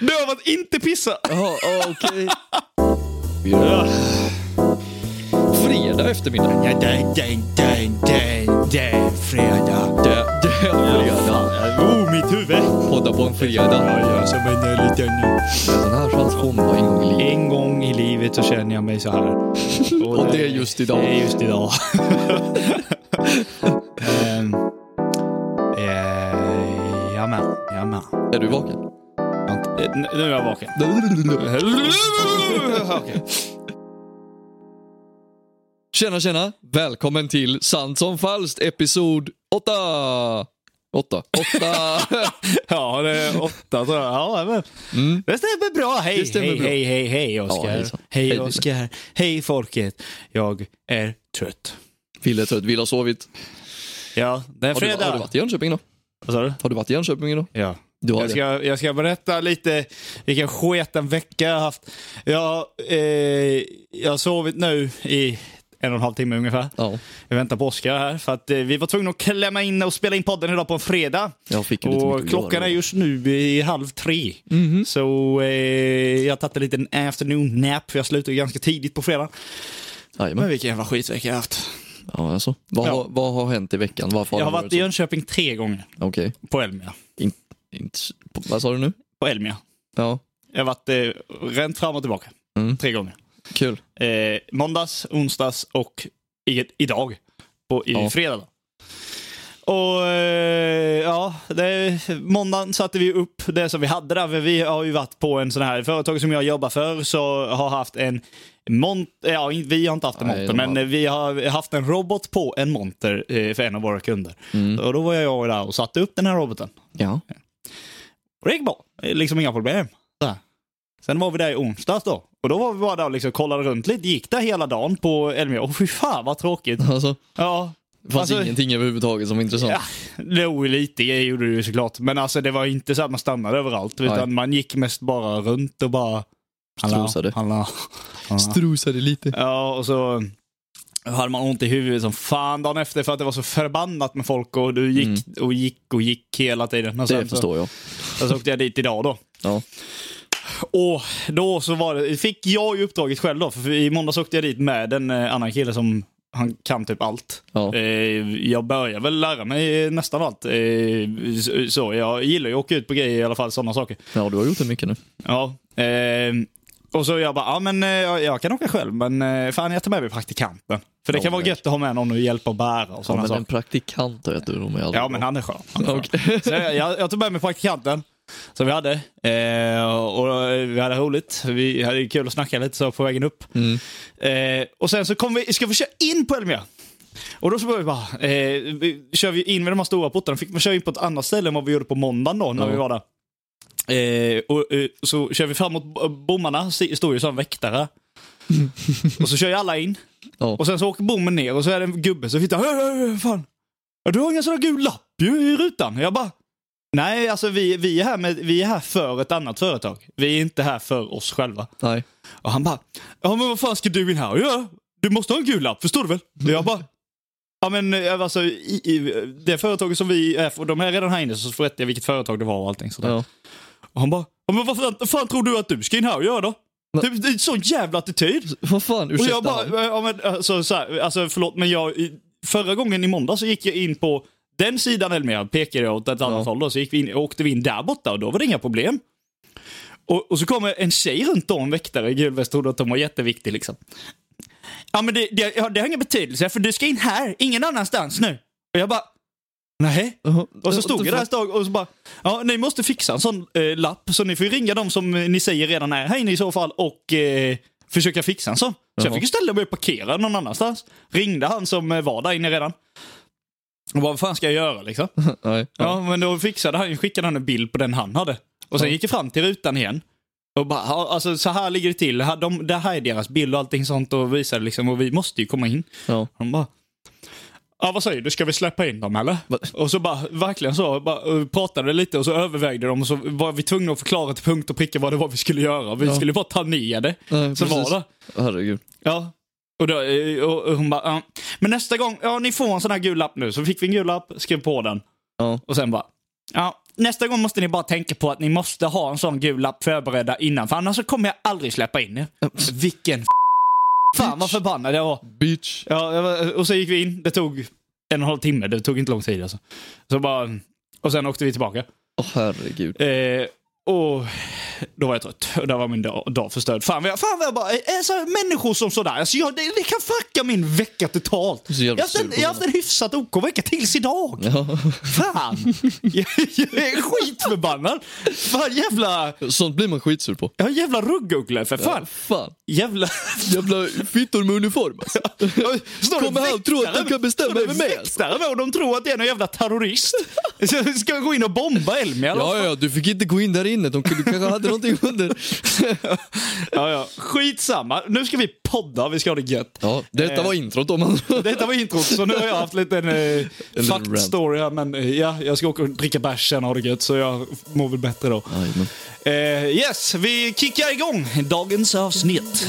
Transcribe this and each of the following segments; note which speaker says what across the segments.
Speaker 1: Döv att inte pissa!
Speaker 2: Ja, ja, okej.
Speaker 1: Ja.
Speaker 2: Fredag eftermiddag.
Speaker 1: Ja, den, den, den, den, den, fredag.
Speaker 2: Det, det är fredag.
Speaker 1: Oh, mitt huvud!
Speaker 2: Podda på en fredag.
Speaker 1: jag som en liten...
Speaker 2: Den här känns omgänglig.
Speaker 1: En gång i livet så känner jag mig så här.
Speaker 2: Och det är just idag.
Speaker 1: Det är just idag. Ehm, eh, Jajamän, jajamän.
Speaker 2: Är du vaken?
Speaker 1: Eh, n- Nu är jag vaken. Okej.
Speaker 2: Tjena, tjena. Välkommen till Sant som falskt, episod 8. 8. 8.
Speaker 1: Ja, det är åtta tror jag. Ja, men.
Speaker 2: Mm.
Speaker 1: Det stämmer bra. Hej,
Speaker 2: Det stämmer
Speaker 1: hej,
Speaker 2: bra.
Speaker 1: hej, hej, hej, Oskar.
Speaker 2: Ja, hejsan.
Speaker 1: hej,
Speaker 2: Hej,
Speaker 1: Oskar. Hej, folket. Jag är trött.
Speaker 2: Fille är trött, vill ha sovit.
Speaker 1: Ja, det är
Speaker 2: Har du,
Speaker 1: fredag.
Speaker 2: har du varit i Jönköping idag?
Speaker 1: Vad sa du?
Speaker 2: Har du varit i Jönköping idag?
Speaker 1: Ja.
Speaker 2: Du har
Speaker 1: Jag ska, jag ska berätta lite vilken sketen vecka jag har haft. Jag, eh, jag har sovit nu i en och en halv timme ungefär.
Speaker 2: Ja,
Speaker 1: Jag väntar på Oskar här för att eh, vi var tvungna att klämma in och spela in podden idag på en fredag.
Speaker 2: jag fick ju lite mycket
Speaker 1: Och
Speaker 2: att
Speaker 1: klockan
Speaker 2: göra.
Speaker 1: är just nu i halv tre. Så eh, jag har tagit en liten afternoon nap för jag slutar ju ganska tidigt på fredag. Men
Speaker 2: Jajamän.
Speaker 1: vilken jävla skitvecka jag har haft.
Speaker 2: Ja, alltså. vad,
Speaker 1: Ja.
Speaker 2: Har, vad har hänt i veckan? Varför
Speaker 1: Jag har
Speaker 2: det
Speaker 1: varit i Jönköping tre gånger
Speaker 2: så? Okej.
Speaker 1: på Elmia.
Speaker 2: Inte... Vad sa du nu?
Speaker 1: På Elmia.
Speaker 2: Ja,
Speaker 1: Jag har varit eh, rent fram och tillbaka.
Speaker 2: Mm.
Speaker 1: Tre gånger.
Speaker 2: kul.
Speaker 1: eh, måndags, onsdags och i, idag. På, I
Speaker 2: Ja.
Speaker 1: fredag. då. Och eh, ja, det, måndagen satte vi upp det som vi hade där. För vi har ju varit på en sån här företag som jag jobbar för. Så har haft en mont, eh, ja in- vi har inte haft en
Speaker 2: Nej,
Speaker 1: monter,
Speaker 2: de har-
Speaker 1: men eh, vi har haft en robot på en monter eh, för en av våra kunder. Och då var jag där och satte upp den här roboten.
Speaker 2: Mm. Ja.
Speaker 1: Och det gick bra. Liksom inga problem. Så här. Sen var vi där i onsdags då. Och då var vi bara där och liksom kollade runt lite. Gick där hela dagen på Elmia. Och fy fan vad tråkigt.
Speaker 2: Alltså,
Speaker 1: Ja.
Speaker 2: det fanns
Speaker 1: Alltså-
Speaker 2: ingenting överhuvudtaget som var intressant.
Speaker 1: ja. Jo, lite gjorde det ju såklart. Men alltså det var inte så att man stannade överallt. Utan
Speaker 2: Nej.
Speaker 1: man gick mest bara runt och bara...
Speaker 2: Strosade.
Speaker 1: Hallå. Hallå.
Speaker 2: Strosade lite.
Speaker 1: Ja, och så hade man ont i huvudet som fan dagen efter för att det var så förbannat med folk och du gick och gick och gick hela tiden. Och
Speaker 2: Mm. Det
Speaker 1: sen så,
Speaker 2: förstår jag.
Speaker 1: och så åkte jag dit idag då.
Speaker 2: Ja.
Speaker 1: Och då så var det, fick jag ju uppdraget själv då, för i måndags åkte jag dit med en eh, annan kille som han kan typ allt.
Speaker 2: Ja.
Speaker 1: Eh, Jag börjar väl lära mig nästan allt. eh, så- Så jag gillar ju att åka ut på grejer i alla fall, sådana saker.
Speaker 2: ja, du har gjort det mycket nu.
Speaker 1: Ja. eh, Och så jag bara, ja men eh, jag jag kan åka själv, men eh, fan jag tar med mig praktikanten. För det
Speaker 2: Ja,
Speaker 1: kan vara
Speaker 2: men-
Speaker 1: gött att ha med någon och hjälpa och bära och
Speaker 2: Ja,
Speaker 1: sådana
Speaker 2: men en
Speaker 1: saker.
Speaker 2: praktikant vet du, de är aldrig
Speaker 1: Ja men han är skön. Han är skön.
Speaker 2: Okej.
Speaker 1: Så jag, jag, jag tog med mig praktikanten som vi hade. Eh, och eh, vi hade roligt. Vi hade kul att snacka lite så på vägen upp.
Speaker 2: Mm.
Speaker 1: Eh, och sen så kom vi, ska vi köra in på Elmia. Och då så började vi bara, eh, vi, kör vi in med de här stora portarna. Fick man köra in på ett annat ställe än vad vi gjorde på måndagen då när
Speaker 2: Ja.
Speaker 1: vi var där. Eh, och, eh, så kör vi framåt b- bommarna, st- står ju som väktare. och så kör ju alla in.
Speaker 2: Ja.
Speaker 1: Och sen så åker bommen ner och så är det en gubbe som tittar. "Hör, hör, hör, Fan. Ja, Du har ingen sån där gul lapp ju i rutan. Jag bara. Nej, alltså vi, vi, är här med, vi är här för ett annat företag. Vi är inte här för oss själva.
Speaker 2: Nej.
Speaker 1: Och han bara. Ja, men vad fan ska du in här och göra? Du måste ha en gul lapp, förstår du väl? Och jag bara. Ja, men eh, alltså i, i, det företaget som vi är för, de är redan här inne så berättade jag vilket företag det var och allting sådär.
Speaker 2: Ja.
Speaker 1: Och han bara. Ja, men vad fan, fan tror du att du ska in här och göra då?
Speaker 2: Va-
Speaker 1: Typ, Det är en sån jävla attityd.
Speaker 2: Vad fan,
Speaker 1: Och
Speaker 2: ursäkta
Speaker 1: jag bara,
Speaker 2: han.
Speaker 1: ja, men, alltså, så här, alltså förlåt, men jag, i- förra gången i måndag så gick jag in på den sidan Elmia, pekade jag åt ett annat
Speaker 2: Ja.
Speaker 1: håll då, så gick vi in, åkte vi in där borta och då var det inga problem. Och, och så kommer en tjej runt om, en väktare i gul väst, trodde att de var jätteviktig liksom. Ja men det, det, ja, det har ingen betydelse för du ska in här, ingen annanstans nu. Och jag bara, nej.
Speaker 2: Jaha.
Speaker 1: Och så stod jag där ett tag och så bara, ja ni måste fixa en sån eh, lapp så ni får ju ringa dem som eh, ni säger redan är här inne i så fall och eh, försöka fixa en sån. Så jag
Speaker 2: Jaha.
Speaker 1: fick ju ställa mig och parkera någon annanstans. Ringde han som eh, var där inne redan. Och bara, vad fan ska jag göra liksom?
Speaker 2: Nej. Ja.
Speaker 1: Ja, men då fixade han, skickade han en bild på den han hade. Och sen
Speaker 2: Ja.
Speaker 1: gick jag fram till rutan igen. Och bara, ja, alltså så här ligger det till. Här- De, det här är deras bild och allting sånt och visade liksom och vi måste ju komma in.
Speaker 2: Ja.
Speaker 1: Han bara, ja vad säger du, ska vi släppa in dem eller?
Speaker 2: Va-
Speaker 1: Och så bara, verkligen så, bara, och pratade lite och så övervägde de och så var vi tvungna att förklara till punkt och pricka vad det var vi skulle göra. Vi
Speaker 2: Ja.
Speaker 1: skulle bara ta ner det.
Speaker 2: Nej,
Speaker 1: Så var
Speaker 2: precis.
Speaker 1: det.
Speaker 2: Herregud.
Speaker 1: Ja. Och, då, eh, och och hon bara, ja. men nästa gång, ja ni får en sån här gul lapp nu. Så fick vi en gul lapp, skrev på den.
Speaker 2: Ja.
Speaker 1: Och sen bara, ja nästa gång måste ni bara tänka på att ni måste ha en sån gul lapp förberedda innan, för annars så kommer jag aldrig släppa in er. Vilken f- Fan vad förbannad jag var.
Speaker 2: Bitch.
Speaker 1: Ja, jag var- och så gick vi in. Det tog en och en halv timme. Det tog inte lång tid alltså. Så bara, och sen åkte vi tillbaka.
Speaker 2: Åh herregud.
Speaker 1: Eh, och då var jag trött. Och där var min dag, dag förstörd. Fan vad jag, fan vad jag bara... Alltså, människor som sådär. Alltså, jag, det, det kan fucka min vecka totalt.
Speaker 2: Så jävla
Speaker 1: Jag har haft en,
Speaker 2: sur på
Speaker 1: jag har haft en hyfsat OK vecka tills idag.
Speaker 2: Ja.
Speaker 1: Fan! Jag, jag är skitförbannad. Fan jävla...
Speaker 2: Sånt blir man skitsur på.
Speaker 1: Jag har jävla rugguggla för fan.
Speaker 2: Fan.
Speaker 1: Jävla...
Speaker 2: Jävla fittor med uniform alltså.
Speaker 1: Står det
Speaker 2: Kommer han tro att
Speaker 1: väktare-
Speaker 2: de kan bestämma
Speaker 1: står det
Speaker 2: över mig, alltså?
Speaker 1: väktare med och de tror att det är någon jävla terrorist. Så Ska jag gå in och bomba Elmia? eller?
Speaker 2: Ja, ja, ja, du fick inte gå in där inne. De kunde, kanske hade någonting under.
Speaker 1: ja, ja. Skitsamma. Nu ska vi podda. Vi ska ha det gött.
Speaker 2: Ja, detta var introt om man...
Speaker 1: Detta var introt, så nu har jag haft lite en eh,
Speaker 2: liten rant.
Speaker 1: faktstory här. Men eh, ja, jag ska åka och dricka bärs sen och ha det gött, så jag mår väl bättre då.
Speaker 2: Jajamän.
Speaker 1: Eh, yes, vi kickar igång dagens avsnitt.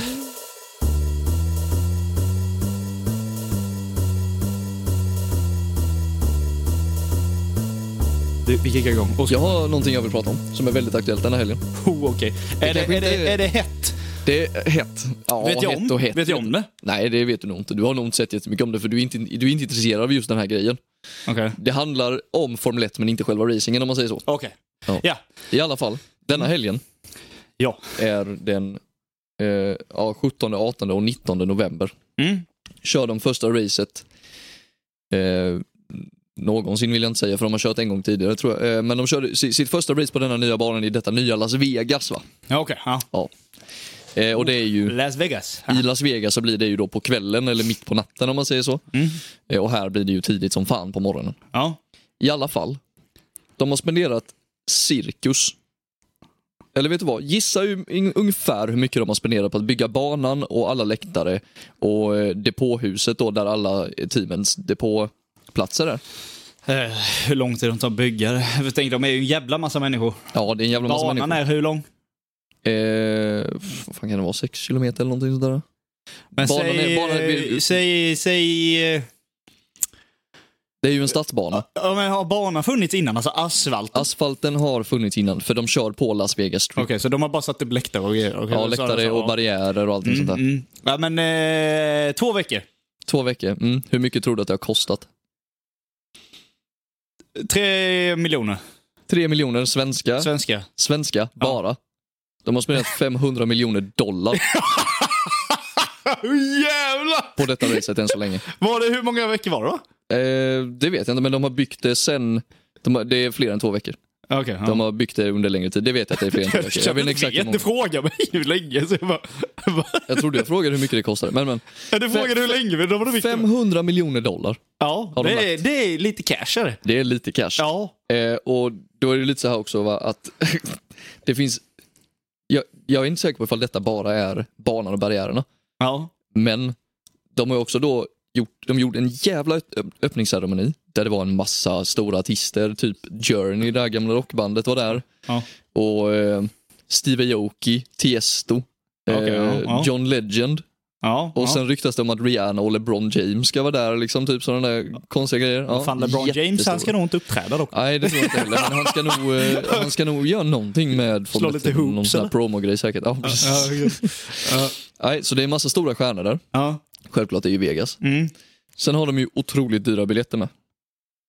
Speaker 1: Du, vi kickar igång. Och så,
Speaker 2: Jag har någonting jag vill prata om som är väldigt aktuellt den här helgen.
Speaker 1: oh, okej. Är, det,
Speaker 2: kanske
Speaker 1: är,
Speaker 2: inte
Speaker 1: det,
Speaker 2: är-
Speaker 1: är det hett?
Speaker 2: Det är hett. Ja,
Speaker 1: vet, jag om,
Speaker 2: hett och hett.
Speaker 1: vet jag om det?
Speaker 2: Nej, det vet du nog inte. Du har nog inte sett jättemycket om det för du är inte, du är inte intresserad av just den här grejen.
Speaker 1: Okej.
Speaker 2: Det handlar om Formel 1 men inte själva racingen om man säger så.
Speaker 1: Okej.
Speaker 2: Ja.
Speaker 1: Ja.
Speaker 2: I alla fall, denna helgen
Speaker 1: Ja.
Speaker 2: är den eh, ja, 17, 18 och 19 november.
Speaker 1: Mm.
Speaker 2: Kör de första racet. Eh, någonsin vill jag inte säga för de har kört en gång tidigare tror jag. Eh, men de körde si- sitt första race på denna nya banan i detta nya Las Vegas va?
Speaker 1: Ja, Okej. Ja.
Speaker 2: Ja. Eh, och det är ju...
Speaker 1: Las Vegas.
Speaker 2: I Las Vegas så blir det ju då på kvällen eller mitt på natten om man säger så. Eh, Och här blir det ju tidigt som fan på morgonen.
Speaker 1: Ja.
Speaker 2: I alla fall, de har spenderat cirkus. Eller vet du vad? Gissa hur- in- ungefär hur mycket de har spenderat på att bygga banan och alla läktare och eh, depåhuset då där alla eh, teamens depåplatser är.
Speaker 1: Eh, hur lång tid de tar att bygga det? Jag tänker, de är ju en jävla massa människor.
Speaker 2: Ja, det är en jävla massa
Speaker 1: Banan
Speaker 2: människor.
Speaker 1: är hur lång?
Speaker 2: Eh, vad fan kan det vara? 6 kilometer eller någonting sådär?
Speaker 1: Men
Speaker 2: Banan
Speaker 1: säg,
Speaker 2: är- banan är-
Speaker 1: säg, säg... eh,
Speaker 2: Det är ju en stadsbana.
Speaker 1: Ja, men har banan funnits innan? Alltså asfalt?
Speaker 2: Asfalten har funnits innan för de kör på Las Vegas Strip.
Speaker 1: Okej, så de har bara satt upp läktare och grejer? Okej,
Speaker 2: Ja,
Speaker 1: så-
Speaker 2: läktare
Speaker 1: så-
Speaker 2: och barriärer och allting
Speaker 1: Mm,
Speaker 2: sånt där.
Speaker 1: mm. Ja, men eh, två veckor.
Speaker 2: Två veckor. Mm. Hur mycket tror du att det har kostat?
Speaker 1: Tre miljoner
Speaker 2: Tre miljoner svenska,
Speaker 1: svenska.
Speaker 2: svenska bara. De har spenderat 500 miljoner dollar
Speaker 1: Hur jävlar!
Speaker 2: på detta racet än så länge.
Speaker 1: Var det, hur många veckor var det då?
Speaker 2: Eh, det vet jag inte, men de har byggt det sen... De har, det är fler än två veckor.
Speaker 1: Okej.
Speaker 2: De har byggt det under längre tid. Det vet jag att det är fler än två veckor. Jag vet inte exakt hur
Speaker 1: vet, du
Speaker 2: många.
Speaker 1: frågar mig hur länge. Så jag bara,
Speaker 2: Jag trodde jag frågade hur mycket det kostar. Men, men.
Speaker 1: du frågade hur länge, men då var det viktigt.
Speaker 2: 500 miljoner dollar.
Speaker 1: Ja,
Speaker 2: Har de
Speaker 1: det, är- det är lite cash är det.
Speaker 2: Det är lite cash.
Speaker 1: Ja.
Speaker 2: Eh, och då är det lite så här också va, att det finns... Jag, jag är inte säker på ifall detta bara är banan och barriärerna.
Speaker 1: Ja.
Speaker 2: Men de har ju också då gjort, de gjorde en jävla ö- öppningsceremoni där det var en massa stora artister, typ Journey, det här gamla rockbandet var där.
Speaker 1: Ja.
Speaker 2: Och eh, Steve Aoki, Tiesto,
Speaker 1: Okej,
Speaker 2: eh,
Speaker 1: ja, ja.
Speaker 2: John Legend.
Speaker 1: ja.
Speaker 2: Och
Speaker 1: ja.
Speaker 2: sen ryktas det om att Rihanna och LeBron James ska vara där, liksom typ sådana där konstiga grejer. Ja,
Speaker 1: Fan, LeBron James, han
Speaker 2: jättestora.
Speaker 1: ska nog inte uppträda dock.
Speaker 2: Nej, det tror jag inte heller. Men han ska nog, eh, han ska nog göra någonting med
Speaker 1: Slå lite hoops,
Speaker 2: någon sån här
Speaker 1: eller?
Speaker 2: promo-grej säkert. Ja, precis. Nej, så det är en massa stora stjärnor där.
Speaker 1: Ja.
Speaker 2: Självklart, det är ju Vegas.
Speaker 1: Mm.
Speaker 2: Sen har de ju otroligt dyra biljetter med.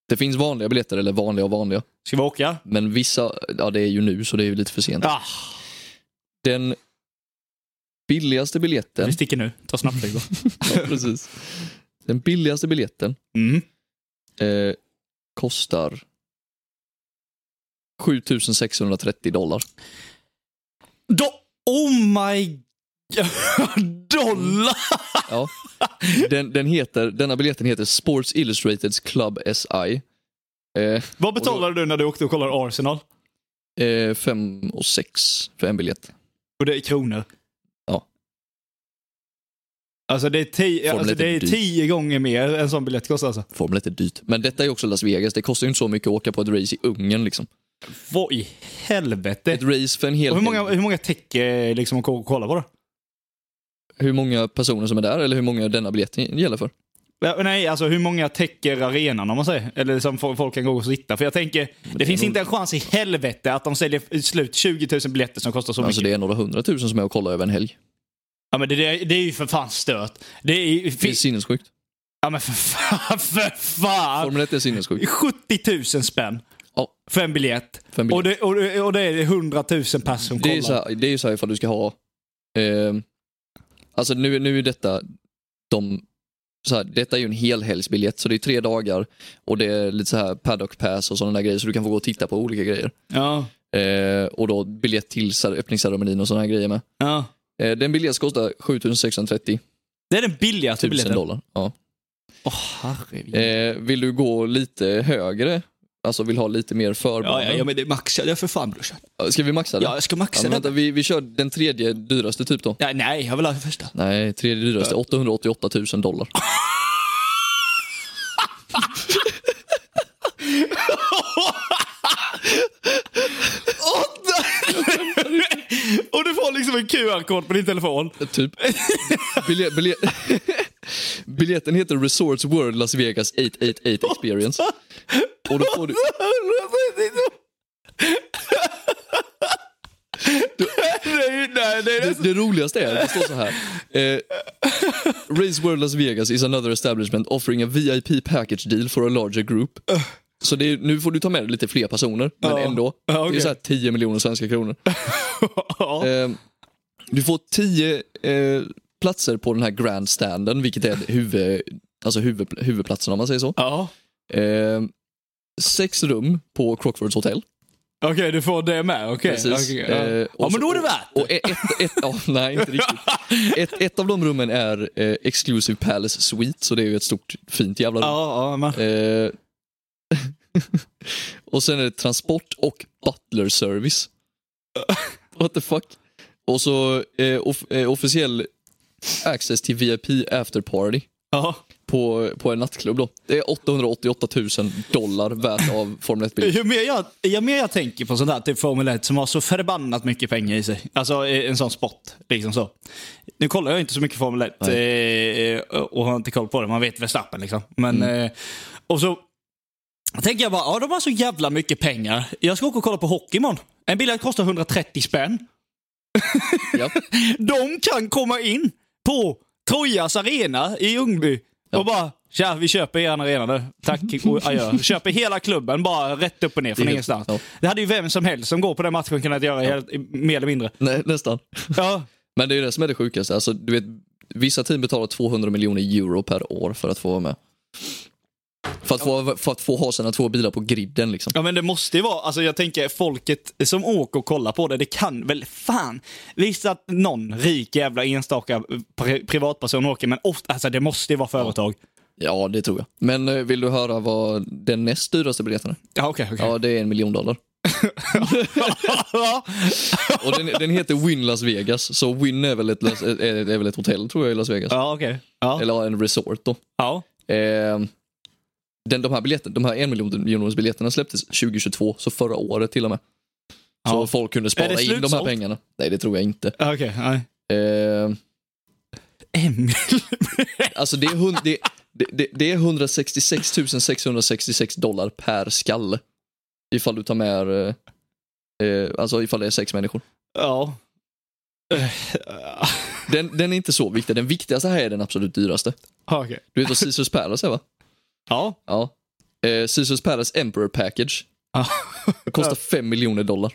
Speaker 2: Det finns vanliga biljetter, eller vanliga och vanliga.
Speaker 1: Ska vi åka?
Speaker 2: Men vissa, ja det är ju nu så det är ju lite för sent.
Speaker 1: Ah,
Speaker 2: Den billigaste biljetten,
Speaker 1: vi sticker nu. Ta snabbt det går.
Speaker 2: ja, precis. Den billigaste biljetten
Speaker 1: Mm.
Speaker 2: eh, kostar 7630 dollar.
Speaker 1: Do- oh my god. Dollar!
Speaker 2: Ja. Den, den heter, denna biljetten heter Sports Illustrateds Club SI. Eh,
Speaker 1: Vad betalade du när du åkte och kollade Arsenal?
Speaker 2: eh, fem och sex för en biljett.
Speaker 1: Och det är kronor?
Speaker 2: Ja.
Speaker 1: Alltså det är tio,
Speaker 2: Formel
Speaker 1: alltså,
Speaker 2: ett är
Speaker 1: det är
Speaker 2: dyrt.
Speaker 1: tio gånger mer en sån biljett kostar alltså.
Speaker 2: Formel 1 är dyrt. Men detta är ju också Las Vegas. Det kostar ju inte så mycket att åka på ett race i Ungern. Liksom.
Speaker 1: Vad i helvete?
Speaker 2: Ett race för en hel
Speaker 1: Och hur många,
Speaker 2: helg.
Speaker 1: hur många täcker liksom att kolla på då?
Speaker 2: hur många personer som är där eller hur många denna biljetten gäller för.
Speaker 1: Ja, Nej, alltså hur många täcker arenan om man säger? Eller som fo- folk kan gå och sitta. För jag tänker, det, finns
Speaker 2: nog-
Speaker 1: inte en chans i helvete att de säljer slut 20 000 biljetter som kostar så
Speaker 2: Alltså
Speaker 1: mycket.
Speaker 2: det är några hundratusen som är och kollar över en helg.
Speaker 1: Ja men det, det, det är ju för fan stört. Det är ju...
Speaker 2: Det är
Speaker 1: Fi,
Speaker 2: sinnessjukt.
Speaker 1: ja men för fan, för fan!
Speaker 2: Formel 1 är sinnessjukt.
Speaker 1: 70 000 spän
Speaker 2: Ja,
Speaker 1: för en biljett.
Speaker 2: för en biljett.
Speaker 1: Och, det, och, det- och det är 100 000 personer som
Speaker 2: Det är
Speaker 1: kollar.
Speaker 2: ju så här, det är ju så här ifall du ska ha... Eh, alltså nu, nu är detta de... Så här, detta är ju en helhelgsbiljett så det är tre dagar och det är lite så här paddock pass och sådana där grejer så du kan få gå och titta på olika grejer.
Speaker 1: Ja,
Speaker 2: Eh, och då biljett till så här, öppningsceremonin och sådana här grejer med.
Speaker 1: ja.
Speaker 2: Eh, den biljett kostar 7630
Speaker 1: Det är den billigaste
Speaker 2: tusen
Speaker 1: biljetten.
Speaker 2: dollar. Ja.
Speaker 1: Åh herregud.
Speaker 2: Eh, vill du gå lite högre, alltså vill ha lite mer
Speaker 1: Ja,
Speaker 2: förbanor?
Speaker 1: ja, ja, men det maxade jag för fan brorsan.
Speaker 2: Ska vi maxa det?
Speaker 1: Ja, jag ska
Speaker 2: Ja,
Speaker 1: maxa
Speaker 2: men
Speaker 1: den.
Speaker 2: vänta, vi, vi kör den tredje dyraste typ då.
Speaker 1: Nej, nej, jag vill ha den första.
Speaker 2: Nej, tredje dyraste. 888 000 dollar.
Speaker 1: Och du får liksom en QR-kod på din telefon.
Speaker 2: Typ. Bilje, bilje, biljetten heter Resorts World Las Vegas 888 Experience. Och då får du,
Speaker 1: nej, nej, nej.
Speaker 2: det, det roligaste är, det står så här. Eh, Race World Las Vegas is another establishment offering a VIP package deal for a larger group. Så det är, nu får du ta med dig lite fler personer, men
Speaker 1: Ja.
Speaker 2: ändå.
Speaker 1: Ja,
Speaker 2: Det är
Speaker 1: okej.
Speaker 2: så här 10 miljoner svenska kronor.
Speaker 1: Ja.
Speaker 2: Eh, du får 10 eh, platser på den här grandstanden, vilket är huvud, alltså huvud, huvudplatsen om man säger så.
Speaker 1: ja.
Speaker 2: Eh, sex rum på Crockfords hotell.
Speaker 1: Okej, du får det med. Okej.
Speaker 2: Precis.
Speaker 1: Okej,
Speaker 2: Eh,
Speaker 1: ja. ja,
Speaker 2: och
Speaker 1: men då är det
Speaker 2: så-
Speaker 1: värt
Speaker 2: Och ett, ett, ett, ja, nej, inte riktigt. Ett, ett av de rummen är eh, Exclusive Palace Suite, så det är ju ett stort fint jävla rum.
Speaker 1: Ja, ja, men.
Speaker 2: Eh, och sen är det transport och butler service. What the fuck? Och så eh, off, eh, officiell access till VIP after party
Speaker 1: Ja.
Speaker 2: på, på en nattklubb då. Det är 888 000 dollar värt av Formel 1-biljett.
Speaker 1: Ju mer jag, ju mer jag tänker på sånt här, typ Formel 1, som har så förbannat mycket pengar i sig. Alltså eh, en sån sport, liksom så. Nu kollar jag inte så mycket Formel 1 eh, och har inte koll på det. Man vet Verstappen liksom. Men, eh, och så tänker jag bara, ja de har så jävla mycket pengar. Jag ska åka och kolla på hockey imorgon. En biljett kostar 130 spänn.
Speaker 2: Ja.
Speaker 1: De kan komma in på Trojas arena i Ljungby och bara Tja, vi köper er arena nu. Tack och adjö. Köper hela klubben bara rätt upp och ner från
Speaker 2: Det är-
Speaker 1: ingenstans.
Speaker 2: ja.
Speaker 1: Det hade ju vem som helst som går på den matchen kunnat göra helt, mer eller mindre.
Speaker 2: Nej, nästan.
Speaker 1: Ja,
Speaker 2: Men det är ju det som är det sjukaste. Alltså, du vet, vissa team betalar 200 miljoner euro per år för att få vara med. För att, få, för att få ha sina två bilar på griden liksom.
Speaker 1: ja men det måste ju vara, alltså jag tänker folket som åker och kollar på det, det kan väl fan. Visst att någon rik jävla enstaka pri- privatperson åker, men ofta, alltså det måste ju vara företag.
Speaker 2: Ja, det tror jag. Men eh, vill du höra vad den näst dyraste biljetten är?
Speaker 1: Ja, okej, okej.
Speaker 2: Ja, det är en miljon dollar. Och den, den heter Win Las Vegas, så Win är väl ett, Las- är, är väl ett hotell tror jag i Las Vegas.
Speaker 1: Ja, okej. Ja.
Speaker 2: Eller ja, en resort då.
Speaker 1: Ja.
Speaker 2: Eh, den, de här biljetten, de här en miljon biljetterna släpptes 2022, så förra året till och med. Så
Speaker 1: Ja.
Speaker 2: folk kunde
Speaker 1: Är
Speaker 2: spara
Speaker 1: det
Speaker 2: in de här
Speaker 1: slutsålt?
Speaker 2: pengarna. Nej, det tror jag inte.
Speaker 1: Ja, Okej, nej.
Speaker 2: Eh,
Speaker 1: Emil.
Speaker 2: alltså det är, hund, det, det- det, det är 166 666 dollar per skalle. Ifall du tar med, eh, eh, alltså ifall det är sex människor.
Speaker 1: Ja.
Speaker 2: Den, den är inte så viktig, den viktigaste här är den absolut dyraste.
Speaker 1: Okej.
Speaker 2: Du vet vad Caesars Palace är va?
Speaker 1: Ja.
Speaker 2: Ja. Eh, Caesars Palace Emperor Package.
Speaker 1: Ja.
Speaker 2: Det kostar 5 miljoner dollar.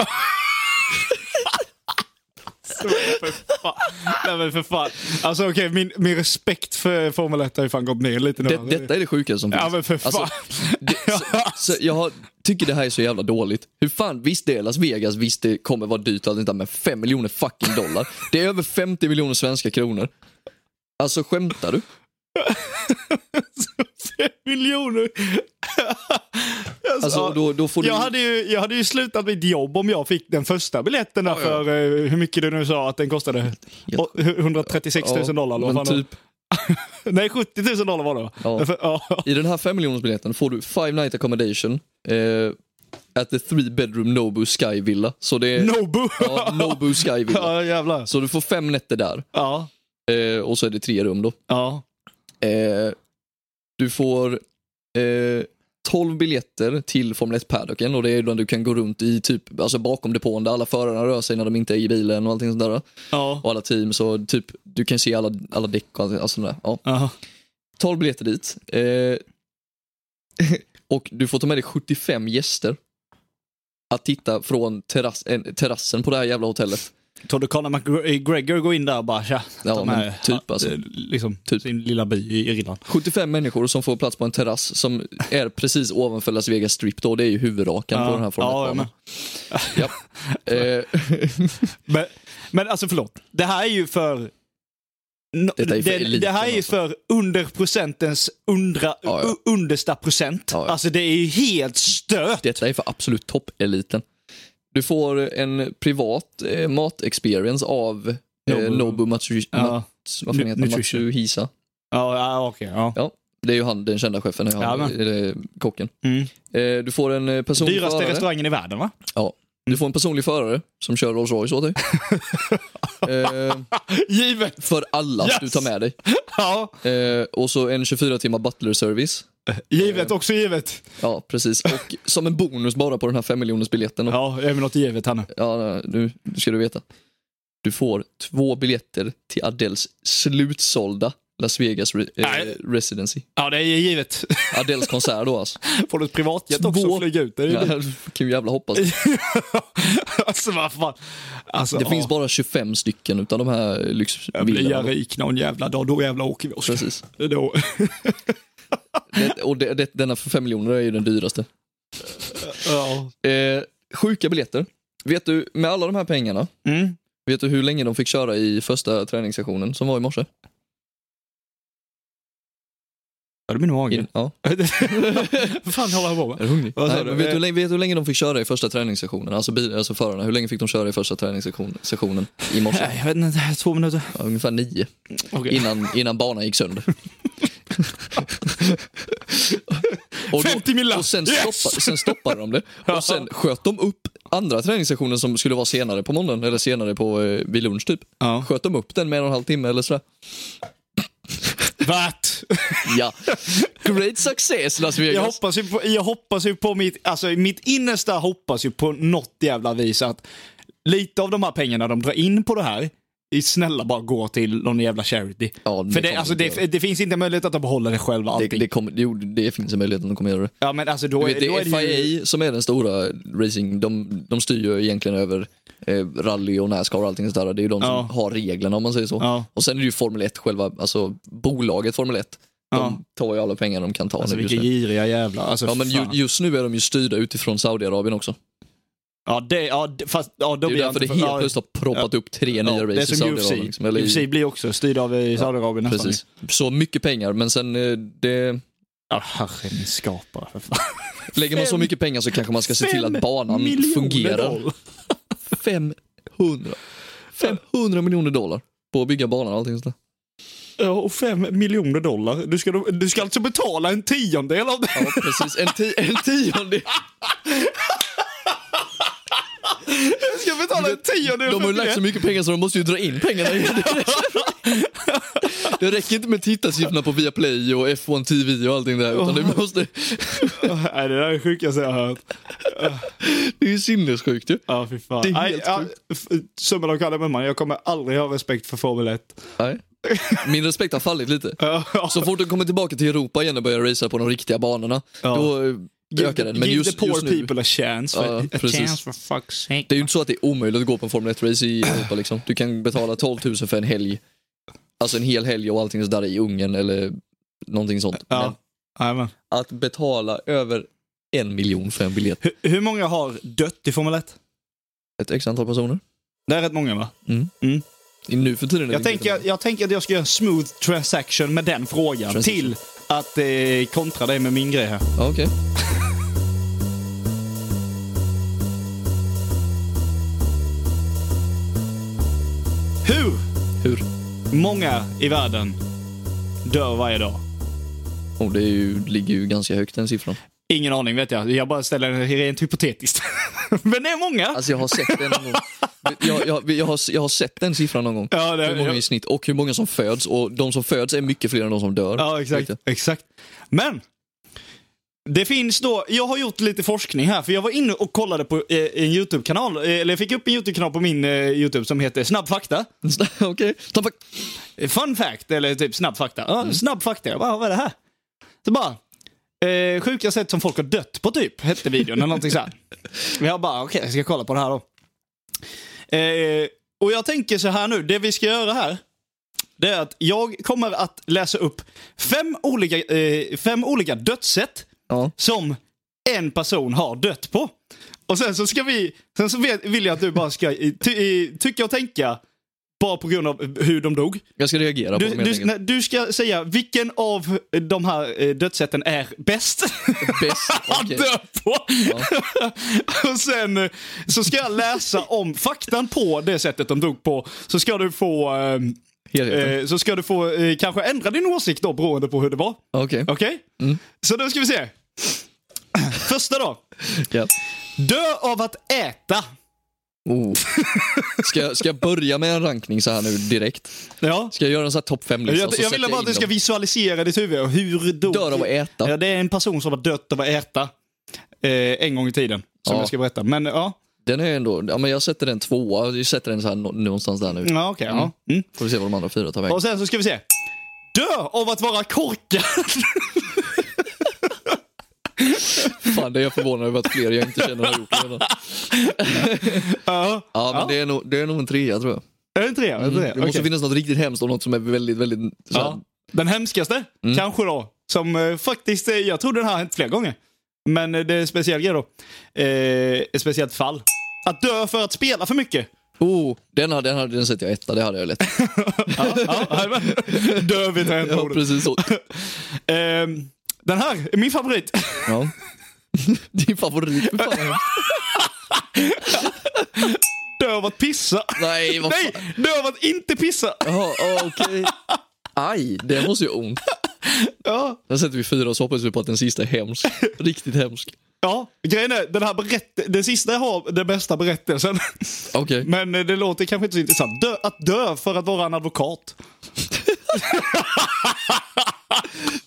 Speaker 1: för fan. Nej men för fan. Alltså okej, min, min respekt för Formel 1 har ju fan gått ner lite nu.
Speaker 2: Det, detta är det sjukaste som finns.
Speaker 1: Ja men för fan.
Speaker 2: Alltså, det, så, så jag har, tycker det här är så jävla dåligt. Hur fan, visst det är Las Vegas, visst det kommer vara dyrt och allt inte, men 5 miljoner fucking dollar. Det är över 50 miljoner svenska kronor. Alltså skämtar du?
Speaker 1: Fem miljoner. Alltså,
Speaker 2: Alltså, då, då får du...
Speaker 1: jag, hade ju, jag hade ju slutat mitt jobb om jag fick den första biljetten där för eh, hur mycket du nu sa att den kostade.
Speaker 2: Helt-
Speaker 1: Och- 136 000 dollar. eller vad
Speaker 2: men
Speaker 1: fan det
Speaker 2: typ,
Speaker 1: var. Nej, 70 000 dollar var det va?
Speaker 2: Ja.
Speaker 1: Men för- ja.
Speaker 2: I den här 5 miljoners biljetten får du five night accommodation eh, at the three bedroom Nobu Sky Villa. Så det är...
Speaker 1: Nobu.
Speaker 2: Eh, Ja, Nobu Sky Villa.
Speaker 1: Ja, jävlar.
Speaker 2: Så du får fem nätter där
Speaker 1: Ja.
Speaker 2: eh, och så är det tre rum då.
Speaker 1: Ja.
Speaker 2: Eh, Du får eh, 12 biljetter till Formel 1-paddocken och det är den du kan gå runt i typ, alltså bakom depån där alla förarna rör sig när de inte är i bilen och allting sånt där.
Speaker 1: Ja.
Speaker 2: Och alla team, så typ, du kan se alla, alla däck och allt allt sånt där. Ja.
Speaker 1: Aha.
Speaker 2: 12 biljetter dit. Eh, och du får ta med dig 75 gäster. Att titta från terrass, en, terrassen på det här jävla hotellet.
Speaker 1: Tror du Conor McGregor går in där och bara tja,
Speaker 2: Ja,
Speaker 1: de
Speaker 2: men
Speaker 1: här,
Speaker 2: typ
Speaker 1: ja,
Speaker 2: alltså.
Speaker 1: eh, liksom,
Speaker 2: Typ.
Speaker 1: sin lilla by i Irland.
Speaker 2: 75 människor som får plats på en terrass som är precis ovanför Las Vegas Strip då. Det är ju huvudrakaren på den här
Speaker 1: ja, jag
Speaker 2: formen.
Speaker 1: med.
Speaker 2: Ja, eh,
Speaker 1: men, men alltså förlåt, det här är ju för... No,
Speaker 2: Detta är för
Speaker 1: det,
Speaker 2: eliten,
Speaker 1: det här är ju
Speaker 2: alltså.
Speaker 1: för under procentens undra,
Speaker 2: Ja, ja.
Speaker 1: u- understa procent.
Speaker 2: Ja, ja.
Speaker 1: Alltså det är ju helt stört.
Speaker 2: Detta är för absolut toppeliten. Du får en privat eh, matexperience av eh,
Speaker 1: Nobu.
Speaker 2: Nobu Matsu,
Speaker 1: Ja.
Speaker 2: Mats, vad fan
Speaker 1: Nu-
Speaker 2: heter han?
Speaker 1: nutrition.
Speaker 2: Matsuhisa.
Speaker 1: Ja, ja okej. Ja.
Speaker 2: Ja, det är ju han, den kända chefen, han,
Speaker 1: Ja, men.
Speaker 2: eller kocken.
Speaker 1: Mm.
Speaker 2: Eh, Du får en eh, personlig
Speaker 1: Dyraste Mm.
Speaker 2: förare.
Speaker 1: restaurangen i världen va?
Speaker 2: Ja. Du får en personlig förare som kör Rolls Royce åt dig. eh,
Speaker 1: Givet!
Speaker 2: för alla
Speaker 1: Yes!
Speaker 2: du tar med dig.
Speaker 1: Ja,
Speaker 2: Eh, och så en 24 timmar butler service. Eh.
Speaker 1: givet också givet.
Speaker 2: Ja, precis. Och som en bonus bara på den här 5 miljoners biljetten. Ja.
Speaker 1: Ja, även något givet här nu.
Speaker 2: Ja, nu nu ska du veta. Du får två biljetter till Adels slutsålda Las Vegas re-
Speaker 1: Nej.
Speaker 2: eh, Residency.
Speaker 1: Ja, det är givet.
Speaker 2: Adels konsert då alltså.
Speaker 1: Får du ett privatjet också
Speaker 2: Två-
Speaker 1: och flyga ut? Det är ju
Speaker 2: Ja, kan ju jävla hoppas.
Speaker 1: alltså vad fan. Alltså,
Speaker 2: Det
Speaker 1: ja.
Speaker 2: finns bara 25 stycken utan de här
Speaker 1: Jag blir jag
Speaker 2: lyxvillorna.
Speaker 1: rik någon jävla dag, då jävla åker vi Oskar.
Speaker 2: Precis.
Speaker 1: Då.
Speaker 2: Det, och det, det, denna för 5 miljoner är ju den dyraste.
Speaker 1: Ja.
Speaker 2: Eh, sjuka biljetter. Vet du, med alla de här pengarna,
Speaker 1: Mm.
Speaker 2: vet du hur länge de fick köra i första träningssessionen som var i morse?
Speaker 1: Ja, det blir nog mage.
Speaker 2: In, ja.
Speaker 1: Vad fan håller han på med?
Speaker 2: Är du hungrig?
Speaker 1: Vad sa
Speaker 2: Nej,
Speaker 1: du? Eh.
Speaker 2: men vet, du, hur länge- vet du hur länge de fick köra i första träningssessionen? Alltså, bil, alltså förarna, hur länge fick de köra i första träningssessionen sessionen i morse?
Speaker 1: Nej, Jag vet inte, två minuter.
Speaker 2: Ja, ungefär nio,
Speaker 1: Okay.
Speaker 2: innan, innan banan gick sönder. Och då-
Speaker 1: 50 millar!
Speaker 2: Och sen,
Speaker 1: Yes!
Speaker 2: stoppade, sen stoppade de det. Och sen sköt de upp andra träningssessionen som skulle vara senare på måndagen, eller senare på, eh, vid lunch typ.
Speaker 1: Ja.
Speaker 2: Sköt de upp den med en och en halv timme eller sådär.
Speaker 1: Värt!
Speaker 2: Ja. Great success Las
Speaker 1: Jag
Speaker 2: Vegas.
Speaker 1: hoppas ju på, jag hoppas ju på mitt, alltså mitt innersta hoppas ju på något jävla vis att lite av de här pengarna de drar in på det här, i snälla bara gå till någon jävla charity.
Speaker 2: Ja, det
Speaker 1: För det,
Speaker 2: kommer
Speaker 1: alltså,
Speaker 2: de
Speaker 1: det,
Speaker 2: göra.
Speaker 1: det finns inte möjlighet att de behåller det själva
Speaker 2: Det,
Speaker 1: allting.
Speaker 2: det, kommer, jo, det finns en möjlighet att de kommer göra det.
Speaker 1: ja men alltså då,
Speaker 2: Du
Speaker 1: är-
Speaker 2: vet, det
Speaker 1: då
Speaker 2: är
Speaker 1: är det ju...
Speaker 2: FIA som är den stora racing, de, de styr ju egentligen över eh, rally och Nascar och allting sådär. Det är ju de som
Speaker 1: Ja.
Speaker 2: har reglerna om man säger så.
Speaker 1: Ja.
Speaker 2: Och sen är det ju Formel 1, själva, alltså bolaget Formel 1.
Speaker 1: Ja.
Speaker 2: De tar ju alla pengar de kan ta.
Speaker 1: Alltså
Speaker 2: nu just
Speaker 1: vilka
Speaker 2: nu.
Speaker 1: giriga jävlar. Alltså,
Speaker 2: Ja, men ju,
Speaker 1: fan.
Speaker 2: just nu är de ju styrda utifrån Saudiarabien också.
Speaker 1: Ja, det, ja, det- fast, ja, då
Speaker 2: Det är ju
Speaker 1: blir jag
Speaker 2: därför det
Speaker 1: inte-
Speaker 2: helt
Speaker 1: ja,
Speaker 2: plötsligt har proppat upp tre
Speaker 1: ja,
Speaker 2: nya
Speaker 1: Det är
Speaker 2: race i
Speaker 1: som UFC.
Speaker 2: Saudiarabien. Liksom, eller i-
Speaker 1: UFC blir också styrd av eh, Saudiarabien nästan.
Speaker 2: Precis. Så mycket pengar, men sen eh, det,
Speaker 1: Ja, herre min skapare för fan.
Speaker 2: lägger man så
Speaker 1: Fem-
Speaker 2: mycket pengar så kanske man ska se till
Speaker 1: Fem
Speaker 2: att banan
Speaker 1: miljoner
Speaker 2: fungerar.
Speaker 1: dollar.
Speaker 2: 500. 500 miljoner dollar på att bygga banan och allting sånt där.
Speaker 1: Ja, och fem miljoner dollar. Du ska, du ska alltså betala en tiondel av det.
Speaker 2: Ja, precis. En, ti- en tiondel.
Speaker 1: Du ska betala en tiondel
Speaker 2: De har ju lagt så mycket pengar så de måste ju dra in pengarna. Det räcker inte med tittarsiffrorna på Viaplay och F1 TV och allting där. Utan det, måste,
Speaker 1: Nej, det där är det sjukaste jag har hört.
Speaker 2: det är ju sinnessjukt ju.
Speaker 1: Ja, fy fan.
Speaker 2: Det är
Speaker 1: Nej,
Speaker 2: helt
Speaker 1: ja,
Speaker 2: sjukt.
Speaker 1: f- Summan av kardemumman, jag kommer aldrig ha respekt för Formel 1.
Speaker 2: Nej. Min respekt har fallit lite. Så fort de kommer tillbaka till Europa igen och börjar racea på de riktiga banorna,
Speaker 1: Ja.
Speaker 2: då eh, ökar den. Men
Speaker 1: Give
Speaker 2: just,
Speaker 1: the poor
Speaker 2: just nu,
Speaker 1: people a chance. For,
Speaker 2: Ja,
Speaker 1: a
Speaker 2: precis.
Speaker 1: chance for fuck's sake.
Speaker 2: det är ju inte så att det är omöjligt att gå på en Formel 1-race i Europa. Liksom. Du kan betala 12 000 för en helg, alltså en hel helg och allting sådär i Ungern eller någonting sånt.
Speaker 1: Ja. Jajamän.
Speaker 2: Men att betala över en miljon för en biljett,
Speaker 1: Hur, hur många har dött i Formel 1?
Speaker 2: ett x antal personer.
Speaker 1: Det är rätt många va?
Speaker 2: I Nu för tiden är det
Speaker 1: Jag
Speaker 2: inte
Speaker 1: tänker,
Speaker 2: så
Speaker 1: jag tänker att jag ska göra en smooth transaction med den frågan
Speaker 2: Transaction.
Speaker 1: till att eh, kontra dig med min grej här.
Speaker 2: många. Ja, okej.
Speaker 1: Hur
Speaker 2: Hur?
Speaker 1: många i världen dör varje dag?
Speaker 2: Oh, det är ju, ligger ju ganska högt den siffran.
Speaker 1: Ingen aning vet jag. Jag bara ställer den rent hypotetiskt. Men det är många.
Speaker 2: Alltså jag har sett den någon gång. Jag, jag, jag, har, jag har sett den siffran någon gång.
Speaker 1: Ja, det-
Speaker 2: hur många i snitt och hur många som föds. Och de som föds är mycket fler än de som dör.
Speaker 1: Ja, exakt.
Speaker 2: Vet
Speaker 1: exakt. Men, det finns då, jag har gjort lite forskning här, för jag var inne och kollade på eh, en YouTube-kanal, eh, eller jag fick upp en YouTube-kanal på min eh, YouTube som heter Snabb Fakta.
Speaker 2: du? Okej. Ta fuck.
Speaker 1: Eh, Fun fact, eller typ snabb fakta. Ja, Snabb fakta, jag bara, vad är det här? Så bara, eh, sjuka sätt som folk har dött på typ, hette videon eller någonting såhär. Jag bara, okej, jag ska kolla på det här då. Eh, och jag tänker så här nu, det vi ska göra här, det är att jag kommer att läsa upp fem olika, eh, fem olika dödssätt
Speaker 2: Ja.
Speaker 1: som en person har dött på. Och sen så ska vi, sen så vet- vill jag att du bara ska eh, ty, eh, tycka och tänka bara på grund av eh, hur de dog.
Speaker 2: Jag ska reagera på
Speaker 1: Du,
Speaker 2: dem helt
Speaker 1: du,
Speaker 2: enkelt.
Speaker 1: nej, du ska säga vilken av de här eh, dödssätten är bäst
Speaker 2: Bäst.
Speaker 1: att
Speaker 2: okej.
Speaker 1: dö på. och sen eh, så ska jag läsa om faktan på det sättet de dog på. Så ska du få, eh,
Speaker 2: Helheten.
Speaker 1: eh, så ska du få eh, kanske ändra din åsikt då beroende på hur det var.
Speaker 2: Okej.
Speaker 1: Okej?
Speaker 2: Mm.
Speaker 1: Så då ska vi se. Första då.
Speaker 2: Ja.
Speaker 1: Dö av att äta.
Speaker 2: Oh. Ska, jag- ska jag börja med en rankning så här nu direkt?
Speaker 1: Ja.
Speaker 2: Ska jag liksom göra en sån här topp 5-lista?
Speaker 1: Jag, jag vill bara att du ska Eh. visualisera ditt huvud. och Hur då?
Speaker 2: Dör av att äta.
Speaker 1: Ja, det är en person som har dött av att äta eh, en gång i tiden. Som
Speaker 2: Ja.
Speaker 1: jag ska berätta. Men ja,
Speaker 2: Den är ändå, ja, men jag sätter den tvåa, jag sätter den så här nå- någonstans där nu.
Speaker 1: ja okej. ja. Mm.
Speaker 2: Får vi se vad de andra fyra tar vägen.
Speaker 1: Och sen så ska vi se. Dö av att vara korkad.
Speaker 2: Fan, det är jag förvånad över att fler jag inte känner har gjort det. redan.
Speaker 1: ja,
Speaker 2: Ja, men Det, är nog, det är nog en trea tror jag. Mm.
Speaker 1: är det inte det? Är det, inte det?
Speaker 2: Det måste
Speaker 1: Okej.
Speaker 2: finnas något riktigt hemskt och något som är väldigt, väldigt... Så här,
Speaker 1: ja. Den hemskaste,
Speaker 2: Mm.
Speaker 1: kanske då. Som eh, faktiskt, eh, jag tror den här har hänt flera gånger. Men eh, det är en speciell grej då. Eh, ett speciellt fall. Att dö för att spela för mycket.
Speaker 2: Oh, den, hade, den, hade, den sätter jag etta, det hade jag lätt.
Speaker 1: Ja, ja, jajamän. dö vid
Speaker 2: Ja,
Speaker 1: tangentbordet.
Speaker 2: precis så.
Speaker 1: Eh, den här är min favorit.
Speaker 2: Ja. Din favorit. Fan, vad hemskt.
Speaker 1: Dö av att pissa.
Speaker 2: Nej, vad fan.
Speaker 1: Nej, dö av att inte pissa.
Speaker 2: Jaha, ja, okej. Aj, det måste ju göra ont.
Speaker 1: Ja.
Speaker 2: Sen sätter vi fyra och så hoppas vi på att den sista är hemsk. Riktigt hemsk.
Speaker 1: Ja, grejen är, den, här berätt... den sista har den bästa berättelsen.
Speaker 2: Okej.
Speaker 1: Men eh, det låter kanske inte så intressant. Dö, att dö för att vara en advokat.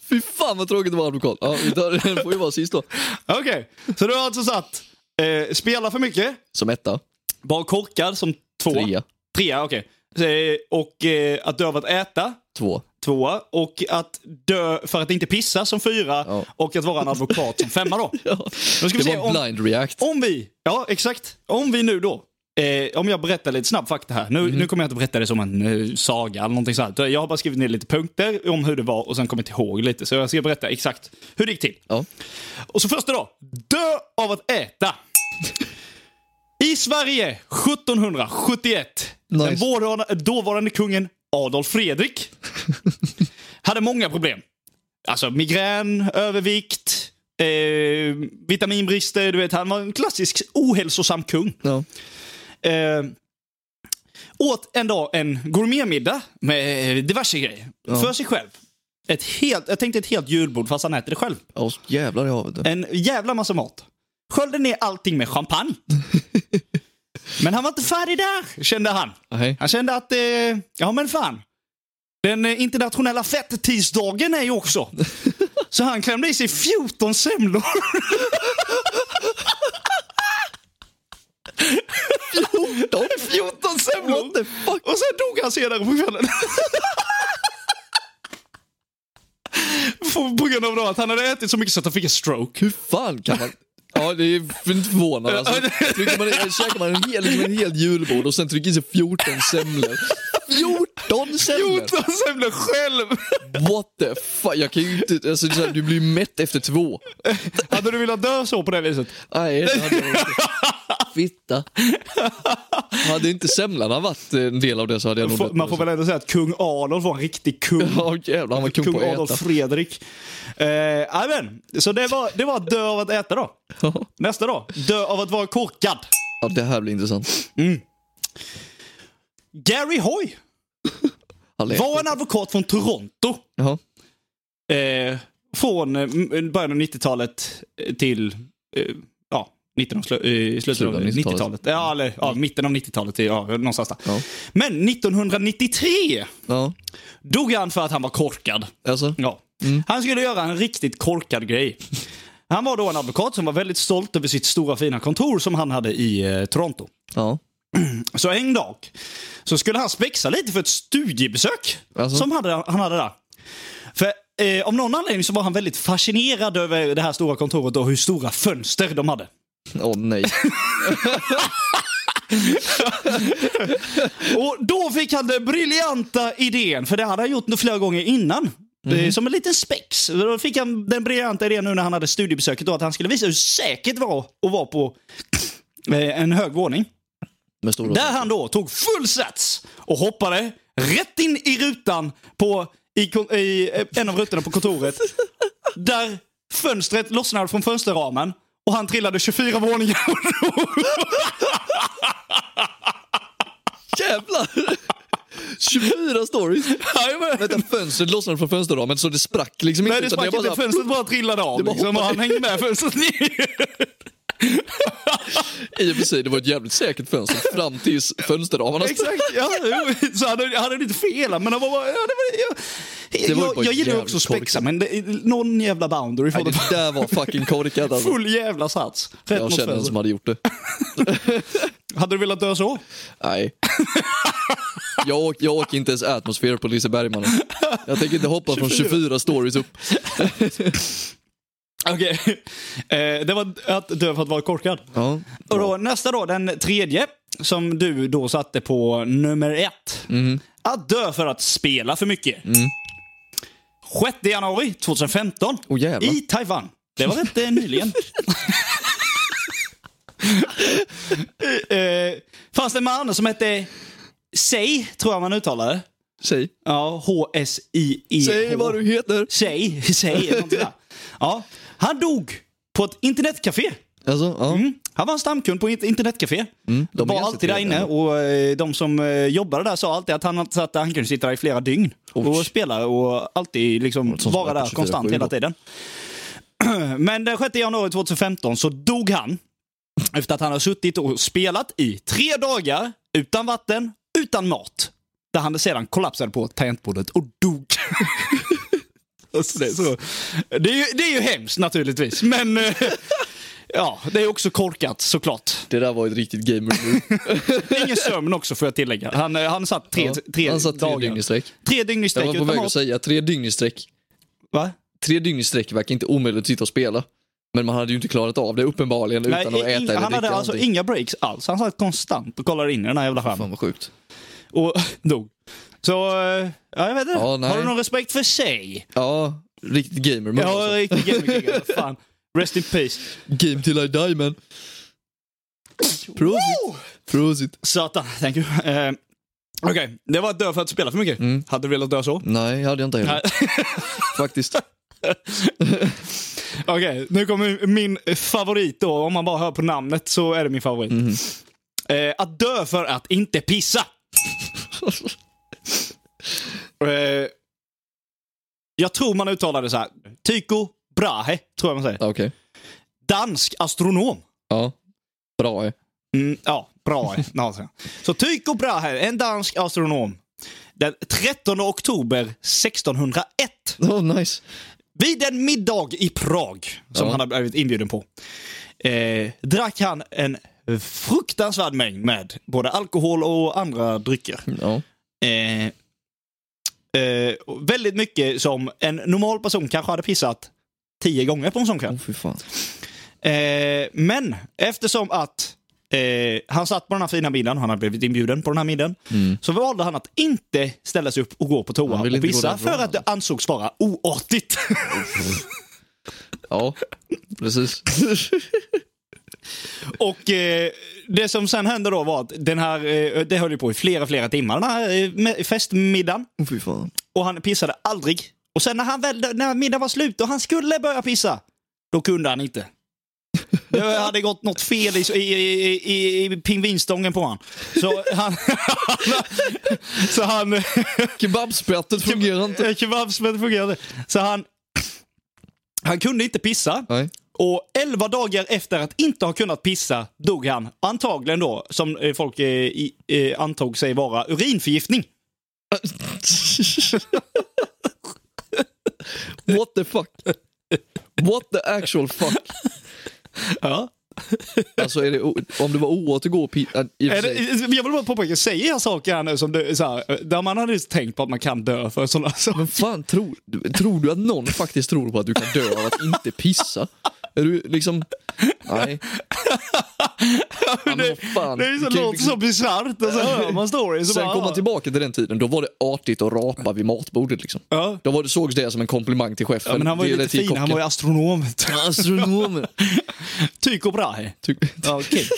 Speaker 2: Fy fan vad tråkigt att vara advokat. Ja, vi tar, den får ju vara sist då.
Speaker 1: Okej, så du har alltså satt eh, spela för mycket,
Speaker 2: Som etta.
Speaker 1: vara korkad som två.
Speaker 2: Trea.
Speaker 1: Trea, okej. Eh, Och eh, att dö av att äta,
Speaker 2: Två.
Speaker 1: tvåa. Och att dö för att inte pissa som fyra.
Speaker 2: Ja.
Speaker 1: Och att vara en advokat som femma då.
Speaker 2: Ja.
Speaker 1: Då ska vi
Speaker 2: Det
Speaker 1: se
Speaker 2: var en
Speaker 1: om,
Speaker 2: blind react.
Speaker 1: om vi, ja exakt, om vi nu då. Eh, om jag berättar lite snabb fakta här. Nu, nu kommer jag inte berätta det som en eh, saga eller någonting sånt. Jag har bara skrivit ner lite punkter om hur det var och sen kommit ihåg lite. Så jag ska berätta exakt hur det gick till.
Speaker 2: Ja.
Speaker 1: Och så första då. Dö av att äta. I Sverige 1771. Den
Speaker 2: Nice.
Speaker 1: vårdana- dåvarande kungen Adolf Fredrik hade många problem. Alltså migrän, övervikt, eh, vitaminbrister. Du vet, han var en klassisk ohälsosam kung.
Speaker 2: Ja.
Speaker 1: Eh, åt en dag en gourmetmiddag med eh, diverse grejer. För sig själv. Ett helt, jag tänkte ett helt julbord fast han äter det själv.
Speaker 2: Ja, så jävlar i havet. du.
Speaker 1: En jävla massa mat. Sköljde ner allting med champagne. Men han var inte färdig där, kände han.
Speaker 2: Nej.
Speaker 1: Han kände att, eh, ja men fan. Den eh, internationella fettisdagen är ju också. Så han klämde i sig 14 semlor.
Speaker 2: 14?
Speaker 1: 14 semlor!
Speaker 2: What the fuck?
Speaker 1: Och sen dog han senare på kvällen. På- På grund av då att han hade ätit så mycket så att han fick en stroke.
Speaker 2: Hur fan kan man... Ja, det är inte förvånande. Alltså, trycker man, i- käkar man en hel, liksom en hel julbord och sen trycker i sig 14 semlor. 14 semlor?
Speaker 1: 14 semlor själv!
Speaker 2: What the fuck? Jag kan ju inte... Alltså, det är så här, du blir ju mätt efter två.
Speaker 1: Hade du velat dö så på det viset?
Speaker 2: Nej, det hade jag inte. Fitta. Hade inte semlarna varit en del av det så hade jag nog
Speaker 1: Får-
Speaker 2: dött.
Speaker 1: Man får väl ändå säga att kung Adolf var en riktig kung.
Speaker 2: Ja, jävlar. Han var kung,
Speaker 1: Kung
Speaker 2: på att
Speaker 1: Adolf
Speaker 2: äta.
Speaker 1: Fredrik. Eh, Jajamän, så det var, det var att dö av att äta då. Nästa då, dö av att vara korkad.
Speaker 2: Ja, det här blir intressant.
Speaker 1: Gary Hoy
Speaker 2: Alla-
Speaker 1: var en advokat från Toronto.
Speaker 2: Jaha.
Speaker 1: Eh, från eh, m- början av 90-talet eh, till eh, ja, Mitten av slu, eh, slutet av
Speaker 2: Slutet av 90-talet.
Speaker 1: 90-talet. Ja, eller ja, mitten av 90-talet. Ja, någonstans där.
Speaker 2: Ja.
Speaker 1: Men 1993
Speaker 2: Ja,
Speaker 1: dog han för att han var korkad.
Speaker 2: alltså.
Speaker 1: Ja. Han skulle göra en riktigt korkad grej. Han var då en advokat som var väldigt stolt över sitt stora fina kontor som han hade i eh, Toronto.
Speaker 2: Ja.
Speaker 1: Så en dag så skulle han spexa lite för ett studiebesök
Speaker 2: Alltså?
Speaker 1: som hade, han hade där. För eh, om någon anledning så var han väldigt fascinerad över det här stora kontoret och hur stora fönster de hade.
Speaker 2: Åh nej.
Speaker 1: Och då fick han den briljanta idén, för det hade han gjort nu flera gånger innan.
Speaker 2: Mhm.
Speaker 1: Eh, Som en liten spex. Då fick han den briljanta idén nu när han hade studiebesöket då, att han skulle visa hur säkert det var att vara på eh, en hög våning.
Speaker 2: Med stora
Speaker 1: Där han då tog full sats och hoppade rätt in i rutan på i, kon- i eh, en av rutorna på kontoret. Där fönstret lossnade från fönsterramen och han trillade 24 våningar.
Speaker 2: Jävlar! 24 stories. Vänta, fönstret lossnade från fönsterramen så det sprack liksom
Speaker 1: Nej,
Speaker 2: inte.
Speaker 1: det
Speaker 2: utan
Speaker 1: sprack
Speaker 2: bara
Speaker 1: inte.
Speaker 2: så här-
Speaker 1: Fönstret bara trillade av.
Speaker 2: bara
Speaker 1: liksom, och
Speaker 2: hoppade
Speaker 1: han hängde med fönstret ner.
Speaker 2: I och för sig, det var ett jävligt säkert fönster fram tills fönsterramarna sprack.
Speaker 1: Exakt, ja. jo. Så han hade, han hade inte fel, men han var bara... Ja, det var, jag,
Speaker 2: Det var ju
Speaker 1: jag,
Speaker 2: bara
Speaker 1: jag gillar ju
Speaker 2: jävligt
Speaker 1: också att spexa, men det, någon jävla boundary får
Speaker 2: Nej,
Speaker 1: det vara.
Speaker 2: det där var fucking korkat alltså.
Speaker 1: Full jävla sats. Rätt
Speaker 2: Jag
Speaker 1: mot
Speaker 2: känner en
Speaker 1: fönstret.
Speaker 2: som hade gjort det.
Speaker 1: Hade du velat dö så?
Speaker 2: Nej. Jag, åk, jag åker inte ens atmosfär på Liseberg mannen. Jag tänker inte hoppa från 24 stories upp.
Speaker 1: Okej. Eh, det var att dö för att vara korkad.
Speaker 2: Ja.
Speaker 1: Och då, nästa då, den tredje, som du då satte på nummer ett.
Speaker 2: Mm.
Speaker 1: Att dö för att spela för mycket. 6 januari 2015
Speaker 2: Åh, jävlar.
Speaker 1: i Taiwan. Det var inte nyligen. eh, fanns det en man som hette Sei, tror jag man uttalade.
Speaker 2: Säg.
Speaker 1: Ja, H-S-I-E.
Speaker 2: Säg vad du heter.
Speaker 1: Säg, säg. någonting där. Ja, han dog på ett internetcafé.
Speaker 2: Alltså, ja.
Speaker 1: Mm. Han var en stamkund på ett internetcafé.
Speaker 2: Mm, de är
Speaker 1: var
Speaker 2: ganska
Speaker 1: alltid där
Speaker 2: trevliga.
Speaker 1: inne och eh, de som eh, jobbade där sa alltid att han, satt, han kunde sitta där i flera dygn och spela och alltid liksom
Speaker 2: som
Speaker 1: vara
Speaker 2: var
Speaker 1: där
Speaker 2: 24/7
Speaker 1: konstant hela
Speaker 2: då.
Speaker 1: tiden. Men den 6 januari 2015 så dog han efter att han har suttit och spelat i tre dagar utan vatten, utan mat. Där han sedan kollapsade på tangentbordet och dog. Alltså, det, är så. Det, är ju, det är ju hemskt naturligtvis, men eh, ja, det är också korkat såklart.
Speaker 2: Det där var ett riktigt gamer move.
Speaker 1: Ingen sömn också får jag tillägga. Han, eh, han satt tre,
Speaker 2: Ja.
Speaker 1: tre
Speaker 2: Han satt tre
Speaker 1: dagar.
Speaker 2: dygn i sträck.
Speaker 1: Tre dygn i
Speaker 2: Jag
Speaker 1: sträck
Speaker 2: var på
Speaker 1: utan
Speaker 2: väg
Speaker 1: mat.
Speaker 2: att säga tre dygn i sträck.
Speaker 1: Va?
Speaker 2: Tre dygn i sträck verkar inte omöjligt att sitta och spela. Men man hade ju inte klarat av det uppenbarligen
Speaker 1: Nej,
Speaker 2: utan att äta
Speaker 1: ing-
Speaker 2: eller dricka
Speaker 1: han hade alltså
Speaker 2: någonting.
Speaker 1: inga breaks alls. Han satt konstant och kollade in i den här jävla skärmen.
Speaker 2: Fan vad sjukt.
Speaker 1: Och dog. Så, eh, ja, jag vet inte.
Speaker 2: Ja, nej.
Speaker 1: Har du någon respekt för sig?
Speaker 2: Ja, riktigt gamer move.
Speaker 1: Jag har
Speaker 2: alltså.
Speaker 1: riktigt gaming Fan. Rest in peace.
Speaker 2: Game till I die man. Prosit. Prosit.
Speaker 1: Satan, thank you. Eh, Okej, det var att dö för att spela för mycket. Hade du velat dö så?
Speaker 2: Nej, hade jag inte heller. Faktiskt.
Speaker 1: Okej, nu kommer min favorit då. Om man bara hör på namnet så är det min favorit.
Speaker 2: Mhm.
Speaker 1: Eh, att dö för att inte pissa. eh, jag tror man uttalar det så här. Tycho Brahe, tror jag man säger.
Speaker 2: Ja, Ah, Okej.
Speaker 1: Dansk astronom.
Speaker 2: Ja. Bra. eh.
Speaker 1: Mm, ja, bra. Någonsin. Så Tycho Brahe, en dansk astronom. Den 13 oktober 1601.
Speaker 2: Åh, Oh, nice.
Speaker 1: Vid en middag i Prag, som
Speaker 2: Ja.
Speaker 1: han har blivit inbjuden på, eh, drack han en fruktansvärd mängd med både alkohol och andra drycker.
Speaker 2: Ja.
Speaker 1: Eh, eh, och väldigt mycket som en normal person kanske hade pissat tio gånger på en sån kväll.
Speaker 2: Åh, Oh, fy fan.
Speaker 1: Eh, men eftersom att eh, han satt på den här fina middagen, han hade blivit inbjuden på den här middagen, så valde han att inte ställa sig upp och gå på toa
Speaker 2: Mm. Han ville
Speaker 1: och
Speaker 2: inte gå
Speaker 1: pissa
Speaker 2: därifrån,
Speaker 1: för att det ansågs vara oartigt.
Speaker 2: Ja, precis.
Speaker 1: Och eh, det som sen hände då var att den här, eh, det höll ju på i flera, flera timmar, den här eh, me- festmiddagen.
Speaker 2: Åh, Oh, fy fan.
Speaker 1: Och han pissade aldrig. Och sen när, han väl, när middagen var slut och han skulle börja pissa, då kunde han inte. Det hade gått något fel i, i, i, i, i pingvinstången på han. Så han... så han... eh,
Speaker 2: Kebabspettet fungerar inte.
Speaker 1: Kebabsmäll fungerade. Så han... Han kunde inte pissa.
Speaker 2: Nej.
Speaker 1: Och 11 dagar efter att inte ha kunnat pissa dog han, antagligen då, som eh, folk eh, i- eh, antog sig vara, urinförgiftning.
Speaker 2: What the fuck? What the actual fuck?
Speaker 1: Ja.
Speaker 2: Alltså är det, o- om det var oåtergå...
Speaker 1: Är det, eh, jag vill bara påpeka, säger jag saker här nu som det, så här, eh, där man hade tänkt på att man kan dö för sådana saker?
Speaker 2: Men fan, tror, tror du att någon faktiskt tror på att du kan dö av att inte pissa? Är du liksom... Nej. Ja, men vad fan.
Speaker 1: Det är så,
Speaker 2: Du kan ju
Speaker 1: låter
Speaker 2: liksom-
Speaker 1: så bisarrt och så hör man stories. och
Speaker 2: Sen
Speaker 1: bara,
Speaker 2: kom man
Speaker 1: ja.
Speaker 2: tillbaka till den tiden, då var det artigt att rapa vid matbordet liksom.
Speaker 1: Ja.
Speaker 2: Då var det, sågs det som en komplimang till chefen.
Speaker 1: Ja, men han var ju
Speaker 2: eller
Speaker 1: lite
Speaker 2: till
Speaker 1: fin, han
Speaker 2: kocken.
Speaker 1: var ju astronom.
Speaker 2: Astronomen.
Speaker 1: Tycho Brahe.
Speaker 2: Ty-
Speaker 1: Ja, okej.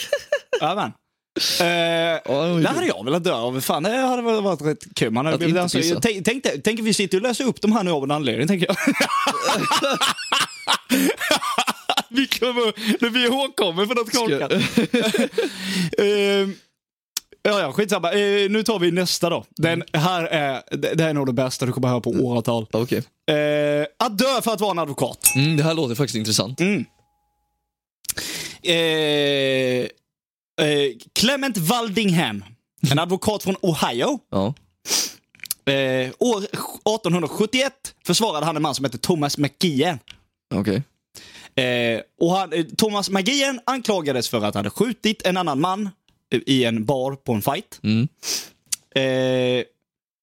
Speaker 1: Jajamän. Eh,
Speaker 2: Ja, det var ju
Speaker 1: det
Speaker 2: kul.
Speaker 1: hade jag velat dö av. Fan, det hade väl varit rätt kul. Man hade
Speaker 2: Att
Speaker 1: blivit
Speaker 2: inte
Speaker 1: alltså,
Speaker 2: pissa.
Speaker 1: tänk, tänk, dig- tänk, vi sitter och läser upp de här nu av en anledning, tänker jag. vi kommer, när vi är ihågkomna för något korkat. Eh, ja, ja, skitsamma. Eh, nu tar vi nästa då. Den
Speaker 2: Mm.
Speaker 1: här är, det det här är nog det bästa du kommer höra på åratal.
Speaker 2: Ja, Okej.
Speaker 1: Eh, att dö för att vara en advokat.
Speaker 2: Mm, det här låter faktiskt intressant.
Speaker 1: Mm. Eh, eh, Clement Waldingham, en advokat från Ohio.
Speaker 2: Ja.
Speaker 1: Eh, år 1871 försvarade han en man som hette Thomas McGeehan.
Speaker 2: Okej.
Speaker 1: Eh, och han, eh, Thomas McGeehan anklagades för att han hade skjutit en annan man eh, i en bar på en fight.
Speaker 2: Mm.
Speaker 1: Eh,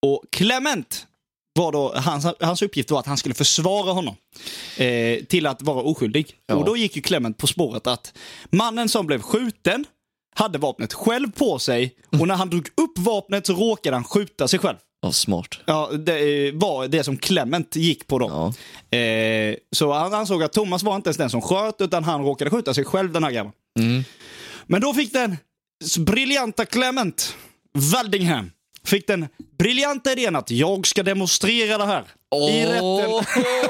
Speaker 1: och Clement, var då, hans, hans uppgift var att han skulle försvara honom eh, till att vara oskyldig.
Speaker 2: Ja.
Speaker 1: Och då gick ju Clement på spåret att mannen som blev skjuten hade vapnet själv på sig och när han drog upp vapnet så råkade han skjuta sig själv.
Speaker 2: Ja, smart.
Speaker 1: Ja, det eh, var det som Clement gick på då.
Speaker 2: Ja.
Speaker 1: Eh, så han ansåg att Thomas var inte ens den som sköt, utan han råkade skjuta sig själv den här grabben.
Speaker 2: Mm.
Speaker 1: Men då fick den s- briljanta Clement Waldingham, fick den briljanta idén att jag ska demonstrera det här. I rätten.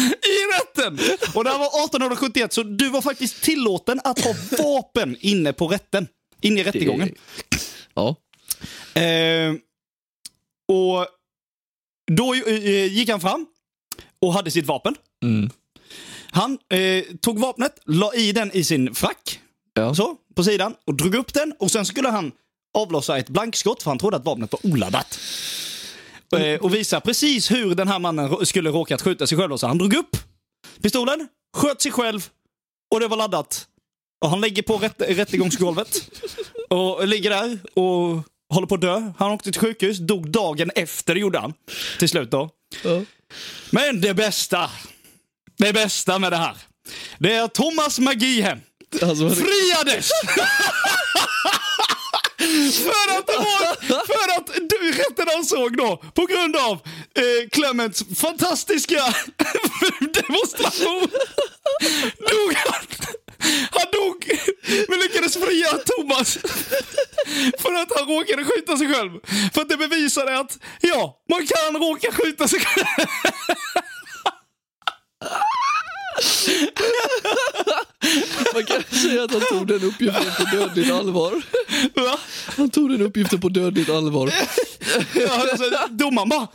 Speaker 1: I rätten! Och det här var 1871, så du var faktiskt tillåten att ha vapen inne på rätten. Inne i rättegången.
Speaker 2: Ja.
Speaker 1: Eh, och då eh, gick han fram och hade sitt vapen.
Speaker 2: Mm.
Speaker 1: Han eh, tog vapnet, la i den i sin frack,
Speaker 2: Ja.
Speaker 1: så, på sidan, och drog upp den. Och sen skulle han avlossa ett blankskott, för han trodde att vapnet var oladdat. Eh, och visa precis hur den här mannen rå- skulle råkat skjuta sig själv. Och Så han drog upp pistolen, sköt sig själv, och det var laddat. Och han ligger på rätt, rättegångsgolvet och ligger där och håller på att dö. Han åkte till sjukhus, dog dagen efter, gjorde han. Till slut då.
Speaker 2: Ja.
Speaker 1: Men det bästa, det bästa med det här, det är att Thomas Magihem
Speaker 2: Alltså,
Speaker 1: friades! för, att det var, för att du, rätten ansåg då, på grund av eh, Clements fantastiska demonstration, dog han. Han dog, men lyckades fria Thomas. För att han råkade skjuta sig själv. För att det bevisade att, ja, man kan råka skjuta sig själv.
Speaker 2: man kan säga att han tog den uppgiften på dödligt allvar.
Speaker 1: Va?
Speaker 2: Han tog den uppgiften på dödligt allvar.
Speaker 1: Ja, alltså, domaren bara...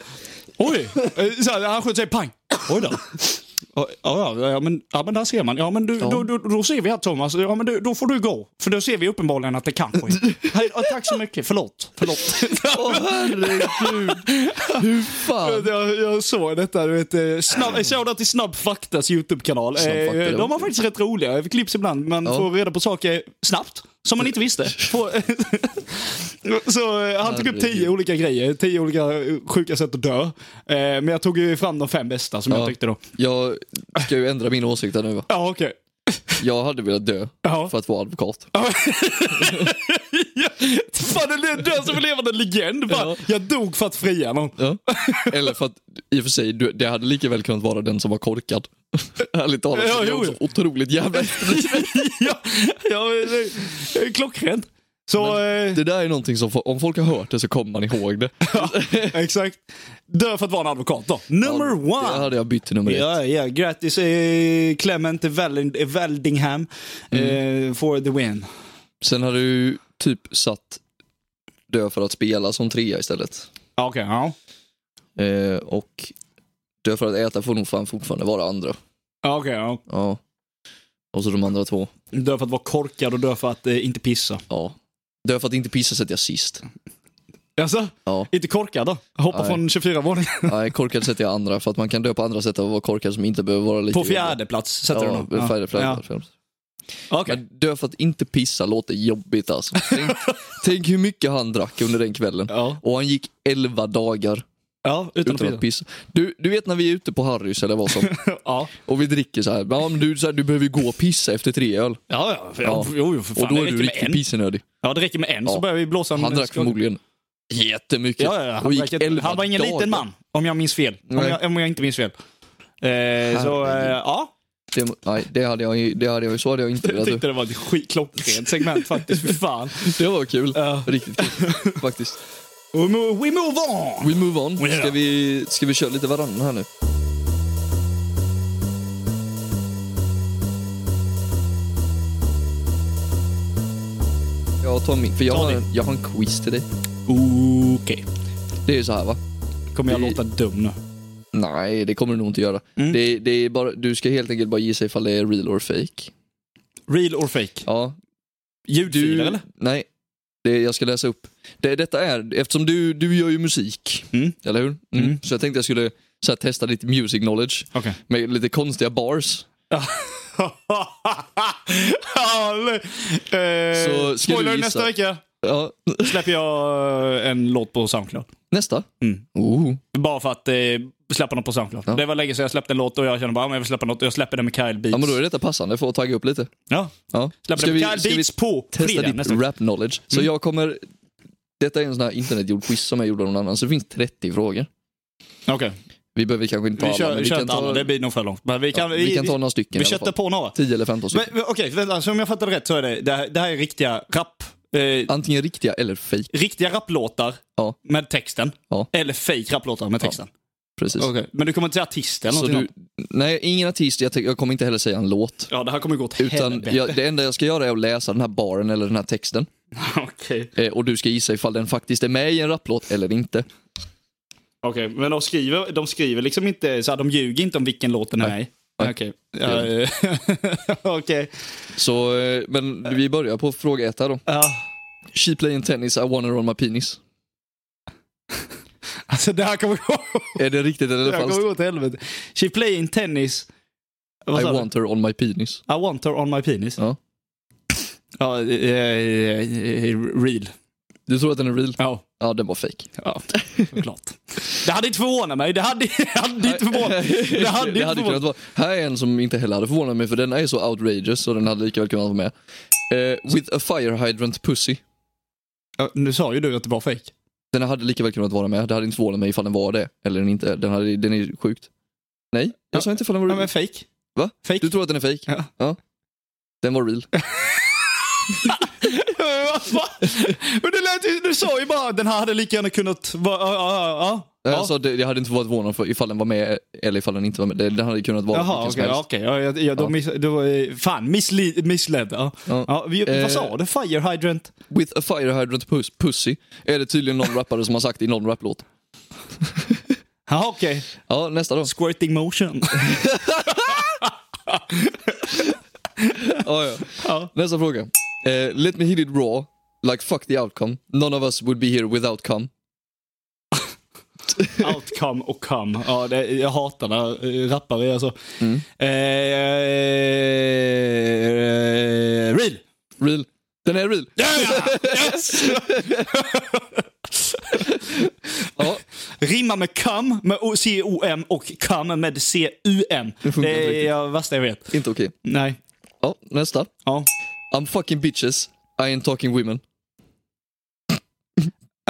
Speaker 1: Oj! Eh, Så här, han sköt sig pang. Oj då. Ja, ja, ja, men, ja, men där ser man. Ja, men du, Då, då, då ser vi att Thomas, ja, men du, då får du gå. För då ser vi uppenbarligen att det kan ske. Hej, ja, tack så mycket. Förlåt. Förlåt.
Speaker 2: Åh herregud. Hur fan?
Speaker 1: Jag, jag såg detta, du vet. eh, Snabb, eh, shoutout till Snabb Faktas YouTube-kanal. Eh,
Speaker 2: Snabb Fakta, ja.
Speaker 1: De har faktiskt rätt roliga eh, klipps ibland. Man
Speaker 2: Ja.
Speaker 1: får reda på saker snabbt, som man inte visste. Få- Så eh, han tog upp tio
Speaker 2: Herregud.
Speaker 1: olika grejer, tio olika eh, sjuka sätt att dö. Eh, Men jag tog ju fram de fem bästa som jag
Speaker 2: Ja.
Speaker 1: tyckte då.
Speaker 2: Jag ska ju ändra min åsikt här nu va.
Speaker 1: Ja, okej.
Speaker 2: Jag hade velat dö
Speaker 1: Ja.
Speaker 2: för att vara advokat.
Speaker 1: Ja, Fan, det är du som en levande legend. Bara,
Speaker 2: Ja.
Speaker 1: Jag dog för att fria någon.
Speaker 2: Ja. Eller för att, i och för sig, du- det hade lika väl kunnat vara den som var korkad. Ärligt talat,
Speaker 1: Ja,
Speaker 2: så det är
Speaker 1: jo,
Speaker 2: också otroligt jävla
Speaker 1: ja, ja, det är klockrent. Så... eh,
Speaker 2: Det där är någonting som, om folk har hört det så kommer man ihåg det.
Speaker 1: Exakt. Dö för att vara en advokat då. Number
Speaker 2: Det
Speaker 1: one!
Speaker 2: hade jag bytt till nummer ett.
Speaker 1: Ja, ja, grattis eh, Clement Weld- Weldingham
Speaker 2: Mm.
Speaker 1: eh, for the win.
Speaker 2: Sen hade du typ satt dö för att spela som trea istället.
Speaker 1: Ja, Okej, ja.
Speaker 2: Eh, och borta för att äta får nog fan fortfarande vara andra.
Speaker 1: Ja, okej. ja.
Speaker 2: Ja. Och så de andra två.
Speaker 1: Dö för att vara korkad och dö för att eh, inte pissa.
Speaker 2: Ja. Dö för att inte pissa sätter jag sist.
Speaker 1: Alltså,
Speaker 2: Ja.
Speaker 1: inte korkad då? Hoppa
Speaker 2: Nej.
Speaker 1: från 24 våningen.
Speaker 2: Nej, korkad sätter jag andra för att man kan dö på andra sätt och vara korkad som inte behöver vara lite
Speaker 1: På fjärde plats sätter
Speaker 2: ja,
Speaker 1: du nog.
Speaker 2: Fjärde, fjärde,
Speaker 1: Ja.
Speaker 2: fjärde.
Speaker 1: Ja. Okej.
Speaker 2: Men dö för att inte pissa låter jobbigt alltså. Tänk, tänk hur mycket han drack under den kvällen.
Speaker 1: Ja.
Speaker 2: Och han gick 11 dagar
Speaker 1: ja, utan,
Speaker 2: utan
Speaker 1: att
Speaker 2: att
Speaker 1: pissa.
Speaker 2: pissa. Du, du vet när vi är ute på Harrys eller vad som
Speaker 1: Ja,
Speaker 2: och vi dricker så här. Ja, men du, så här, du behöver ju gå och pissa efter tre öl.
Speaker 1: ja, ja. För,
Speaker 2: Ja.
Speaker 1: Jo, jo, för fan.
Speaker 2: och då är
Speaker 1: det
Speaker 2: du
Speaker 1: räcker med
Speaker 2: riktigt
Speaker 1: en.
Speaker 2: pissenödig.
Speaker 1: Ja, det räcker med en
Speaker 2: Ja.
Speaker 1: så börjar vi blåsa en
Speaker 2: Han drack
Speaker 1: skål.
Speaker 2: förmodligen jättemycket.
Speaker 1: Ja, ja, ja.
Speaker 2: Typ. och
Speaker 1: Han,
Speaker 2: gick
Speaker 1: drack ett,
Speaker 2: 11
Speaker 1: han var ingen
Speaker 2: dagar.
Speaker 1: liten man, om jag minns fel. Om
Speaker 2: Nej.
Speaker 1: jag, om jag inte minns fel. Eh, så, eh, ja.
Speaker 2: Det, nej, det hade jag ju, det hade jag, ju- så hade jag inte
Speaker 1: Jag
Speaker 2: velat.
Speaker 1: tyckte det var ett skit- klockrent segment faktiskt, för fan.
Speaker 2: Det var kul.
Speaker 1: Ja.
Speaker 2: Riktigt kul faktiskt.
Speaker 1: We move, we move on!
Speaker 2: We move on.
Speaker 1: Yeah.
Speaker 2: Ska vi, ska vi köra lite varannan här nu? Jag tar min, för jag,
Speaker 1: Ta
Speaker 2: har
Speaker 1: din.
Speaker 2: en, jag har en quiz till dig.
Speaker 1: Okej.
Speaker 2: Det är ju så här va?
Speaker 1: Kommer jag
Speaker 2: Vi-
Speaker 1: låta dum nu?
Speaker 2: Nej, det kommer du nog inte göra.
Speaker 1: Mm.
Speaker 2: Det, det är bara, du ska helt enkelt bara gissa ifall det är real or fake.
Speaker 1: Real or fake?
Speaker 2: Ja,
Speaker 1: Ljudfiler
Speaker 2: du,
Speaker 1: eller?
Speaker 2: Nej, det, jag ska läsa upp. Det, detta är, eftersom du, du gör ju musik,
Speaker 1: Mm.
Speaker 2: eller hur? Mm. Så jag tänkte jag skulle så här, testa ditt music knowledge
Speaker 1: Okej.
Speaker 2: med lite konstiga bars.
Speaker 1: Ja, eller- eh,
Speaker 2: Så ska du
Speaker 1: spoiler
Speaker 2: gissa.
Speaker 1: nästa vecka
Speaker 2: Ja,
Speaker 1: släpper jag eh, en låt på Soundcloud.
Speaker 2: nästa.
Speaker 1: Mm.
Speaker 2: Oh.
Speaker 1: Bara för att eh, släppa något på Soundcloud.
Speaker 2: Ja.
Speaker 1: Det var länge sedan jag släppte en låt och jag kände bara att jag vill släppa något. Jag släpper den med Kyle Beats.
Speaker 2: Ja, men då är detta passande för att tagga upp lite.
Speaker 1: Ja.
Speaker 2: Ja.
Speaker 1: Släpper
Speaker 2: Ska
Speaker 1: den
Speaker 2: vi,
Speaker 1: med Kyle
Speaker 2: ska vi
Speaker 1: Beats på
Speaker 2: testa
Speaker 1: fredag
Speaker 2: ditt
Speaker 1: nästa Mm. vecka.
Speaker 2: rap knowledge? Så jag kommer... Detta är en sån här internetgjord quiz som jag gjorde av någon annan, så det finns 30 frågor.
Speaker 1: Okej.
Speaker 2: Vi behöver kanske inte ta
Speaker 1: Vi
Speaker 2: alla,
Speaker 1: kör,
Speaker 2: men
Speaker 1: vi
Speaker 2: vi,
Speaker 1: kör
Speaker 2: kan
Speaker 1: inte
Speaker 2: ta,
Speaker 1: alla, det blir nog för långt. Men vi kan,
Speaker 2: ja, vi, kan ta några Typ- stycken
Speaker 1: Vi
Speaker 2: i alla
Speaker 1: köttar
Speaker 2: fall.
Speaker 1: på några.
Speaker 2: 10 eller 15
Speaker 1: Men,
Speaker 2: stycken.
Speaker 1: men Okej, vänta. Så om jag fattade rätt så är det, det här, det här är riktiga rap... Eh,
Speaker 2: Antingen riktiga eller fake.
Speaker 1: riktiga rapplåtar
Speaker 2: Ja.
Speaker 1: med texten.
Speaker 2: Ja.
Speaker 1: Eller fake rapplåtar med texten.
Speaker 2: Precis.
Speaker 1: Okej. Men du kommer inte säga artist eller
Speaker 2: Så
Speaker 1: någonting?
Speaker 2: du, nej, ingen artist. Jag, tänk- jag kommer inte heller säga en låt.
Speaker 1: Ja, det här kommer gå åt
Speaker 2: Utan
Speaker 1: helvete.
Speaker 2: jag, det enda jag ska göra är att läsa den här baren eller den här texten.
Speaker 1: Okej.
Speaker 2: Eh, och du ska gissa ifall den faktiskt är med i en rapplåt eller inte.
Speaker 1: Okej, men de skriver, de skriver liksom inte, så här, de ljuger inte om vilken låt den är i.
Speaker 2: Nej.
Speaker 1: Okej. Ja, eh, Okej.
Speaker 2: Så, eh, men vi börjar på fråga ett här då.
Speaker 1: Ja.
Speaker 2: She playing tennis, I wanna roll my penis.
Speaker 1: Alltså det här kommer gå,
Speaker 2: Är det riktigt
Speaker 1: det
Speaker 2: eller
Speaker 1: här kommer
Speaker 2: falskt?
Speaker 1: gå åt helvete. She playing tennis. Vad
Speaker 2: I
Speaker 1: sa du?
Speaker 2: want her on my penis.
Speaker 1: I want her on my penis.
Speaker 2: Ja.
Speaker 1: Ja, eh, eh, eh, real.
Speaker 2: Du tror att den är real?
Speaker 1: Ja.
Speaker 2: Ja, den var fake.
Speaker 1: Ja, såklart. Det hade inte förvånat mig. Det hade, det hade inte förvånat Det hade inte
Speaker 2: det hade
Speaker 1: förvånat
Speaker 2: kunnat vara. Här är en som inte heller hade förvånat mig för den är så outrageous så den hade lika väl kunnat vara med. Eh, with a fire hydrant pussy.
Speaker 1: Ja, Nu sa ju du att det var fake.
Speaker 2: Den hade lika väl kunnat vara med. Det hade inte förvånat mig ifall den var det. Eller den inte. är. Den, hade, den är sjukt. Nej, jag
Speaker 1: Ja.
Speaker 2: sa inte ifall den var
Speaker 1: Ja,
Speaker 2: real.
Speaker 1: men fake.
Speaker 2: Va?
Speaker 1: Fake.
Speaker 2: Du tror att den är fejk?
Speaker 1: Ja.
Speaker 2: Den var real.
Speaker 1: Va? Men det lät ju, du sa ju bara att den här hade lika gärna kunnat vara... Ja, ja, ja.
Speaker 2: Jag sa att det, jag hade inte varit förvånad för ifall den var med eller ifall den inte var med. Den hade kunnat vara
Speaker 1: Jaha,
Speaker 2: vilken som
Speaker 1: okej.
Speaker 2: helst.
Speaker 1: okej. Ja, jag- jag- då
Speaker 2: Ja.
Speaker 1: miss- då, eh, Fan, missli- missledd. Ja.
Speaker 2: Ja.
Speaker 1: Ja, vi,
Speaker 2: Eh.
Speaker 1: vad sa du? Fire hydrant?
Speaker 2: With a fire hydrant pus- pussy är det tydligen någon rappare som har sagt i någon rapplåt.
Speaker 1: Jaha, okej.
Speaker 2: Ja, nästa då.
Speaker 1: Squirting motion.
Speaker 2: Ja, ja.
Speaker 1: ja.
Speaker 2: Nästa fråga. Eh, let me hit it raw, like fuck the outcome. None of us would be here without come.
Speaker 1: Outcome och come. Ja, det, jag hatar när eh, rappare alltså.
Speaker 2: Mm.
Speaker 1: Eh, eh, real!
Speaker 2: Real. Den är real.
Speaker 1: Yes!
Speaker 2: Ja,
Speaker 1: Rimma med cum med O- C-O-M och cum med C-U-M.
Speaker 2: funkar inte
Speaker 1: Det
Speaker 2: riktigt.
Speaker 1: är det värsta jag vet.
Speaker 2: inte okej.
Speaker 1: Nej.
Speaker 2: Ja, nästa.
Speaker 1: Ja.
Speaker 2: I'm fucking bitches, I ain't talking women.